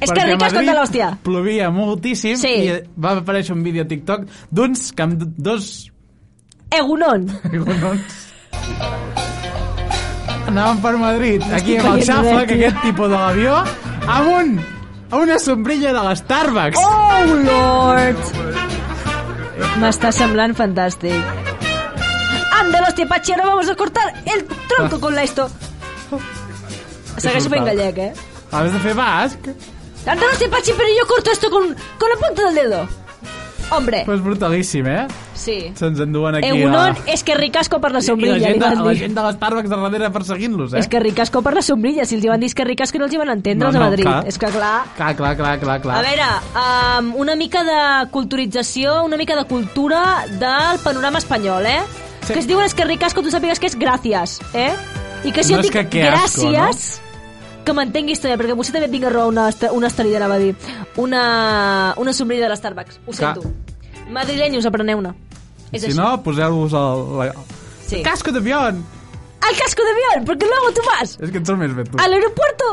És que Perquè a ricas Madrid contra l'hòstia. Plovia moltíssim Sí. i va aparèixer un vídeo a TikTok d'uns que amb dos Egunon. egonons anaven per Madrid, aquí estic amb el veient xafa, res, que tio. aquest tipus de l'avió, amb un amb una sombrilla de les Starbucks. Oh, Lord. M'està semblant fantàstic. Anda, hostia, Pachi, ahora vamos a cortar el tronco con la esto. Segueix fent gallec, eh? Has de fer basc, Anda, hostia, Pachi, pero yo corto esto con, con la punta del dedo. Hombre, però és brutalíssim, eh? sí. Se'ns enduen aquí Egunon la... és que ricasco per I la Eh, sombrilla, la gent, li de, van la dir. gent de les Starbucks de darrere perseguint-los, eh? És que ricasco per la sombrilla, si els hi van dir que ricasco no els hi van entendre No, els de no, Madrid. clar. És que clar... Clar, clar, clar, clar, clar. A veure, um, una mica de culturització, una mica de cultura del panorama espanyol, eh? Sí. Que es diuen és que ricasco, tu sàpigues que és gràcies, eh? I que si No jo és dic que que asco, gràcies... Que m'entenguis també, perquè potser també et vinga a raó una, est- una estelida, anava a dir. Una, una sombrilla de l'Starbucks, ho Clar. sento. Madrilenyos, apreneu-ne. És si així. no, poseu-vos el, la... Sí. Casco d'avió! El casco d'avió, perquè luego tu vas És que et surt més bé, tu. al aeropuerto,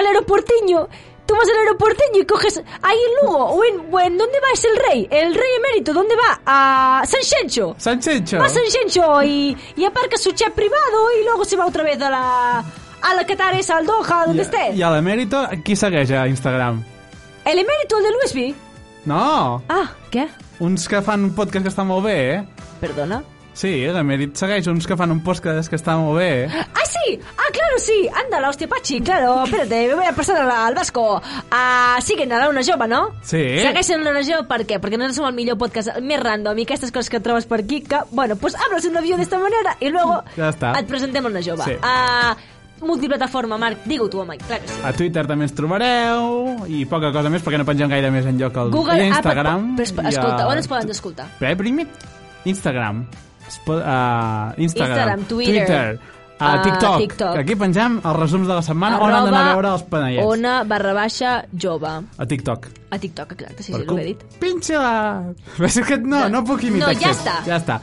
al aeroportiño. Tú vas al aeroportiño y coges ahí en Lugo. O en, o en- ¿Dónde va? Es el rey. El rey emérito. ¿Dónde va? A San Xencho. Sanxenxo. Va a San Xencho y, y aparca su jet privado y luego se va otra vez a la... A la Qatar esa, al Doha, donde esté. I a l'emèrito, qui segueix a Instagram? El emérito, el de Luis V. No, Ah, ¿qué? uns que fan un podcast que està molt bé, eh? Perdona? Sí, l'emèrit segueix uns que fan un podcast que està molt bé, eh? ¡Ah, sí! ¡Ah, claro, sí! Anda, la hostia, Pachi, claro. Espérate, me voy a pasar al, al vasco. Ah, sí que anarà una jove, no? Sí. Segueixen l'Ona Jo, per què? Perquè nosaltres som el millor podcast, el més random, i aquestes coses que trobes per aquí, que, bueno, pues hablas en un avió d'esta manera, i luego Ja està. et presentem a una jove. Sí. Ah, multiplataforma, Marc. Digue-ho tu, home, clar que sí. A Twitter també ens trobareu i poca cosa més perquè no pengem gaire més enlloc al Google, ah, Instagram. Apple, però, esp- i a- escolta, on ens poden escoltar? Però primer, Instagram. Spo- eh, Instagram, Instagram, Twitter, Twitter a eh, TikTok. TikTok. Aquí penjam els resums de la setmana on han d'anar a veure els panellets. Ona barra baixa jove. A TikTok. A TikTok, exacte, sí, Per sí, com- l'ho he dit. <laughs> Pinxa! És que no, no puc imitar No, ja accents. està. Ja està.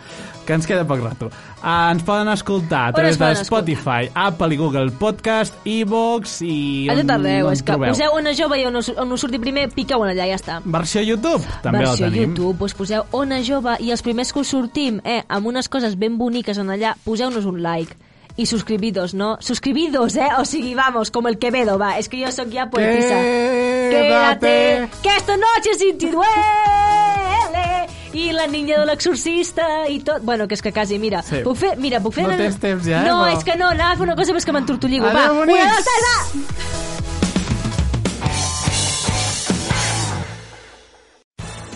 Que ens queda poc rato. Ah, ens poden escoltar a On través de ens poden Spotify, Apple i Google Podcast, Evox i... A tot arreu, on és que trobeu. poseu una jove i on us, on us surti primer, piqueu en allà, ja està. Versió YouTube, també Versió la tenim. YouTube, us poseu Ona Jove i els primers que us sortim, eh, amb unes coses ben boniques en allà, poseu-nos un like. I suscribidos, no? Suscribidos, eh? O sigui, vamos, como el Quevedo, va. Es que yo soy ya poetisa. Quédate. Que esta noche sin ti duele. I la niña de l'exorcista i tot. Bueno, que és que quasi, mira. Sí. Puc fer, mira, puc fer... No tens temps ja, No, eh, però- és que no, anava a fer una cosa, però és que m'entortolligo. Va, Adéu, una, bonics. dos, tres, va!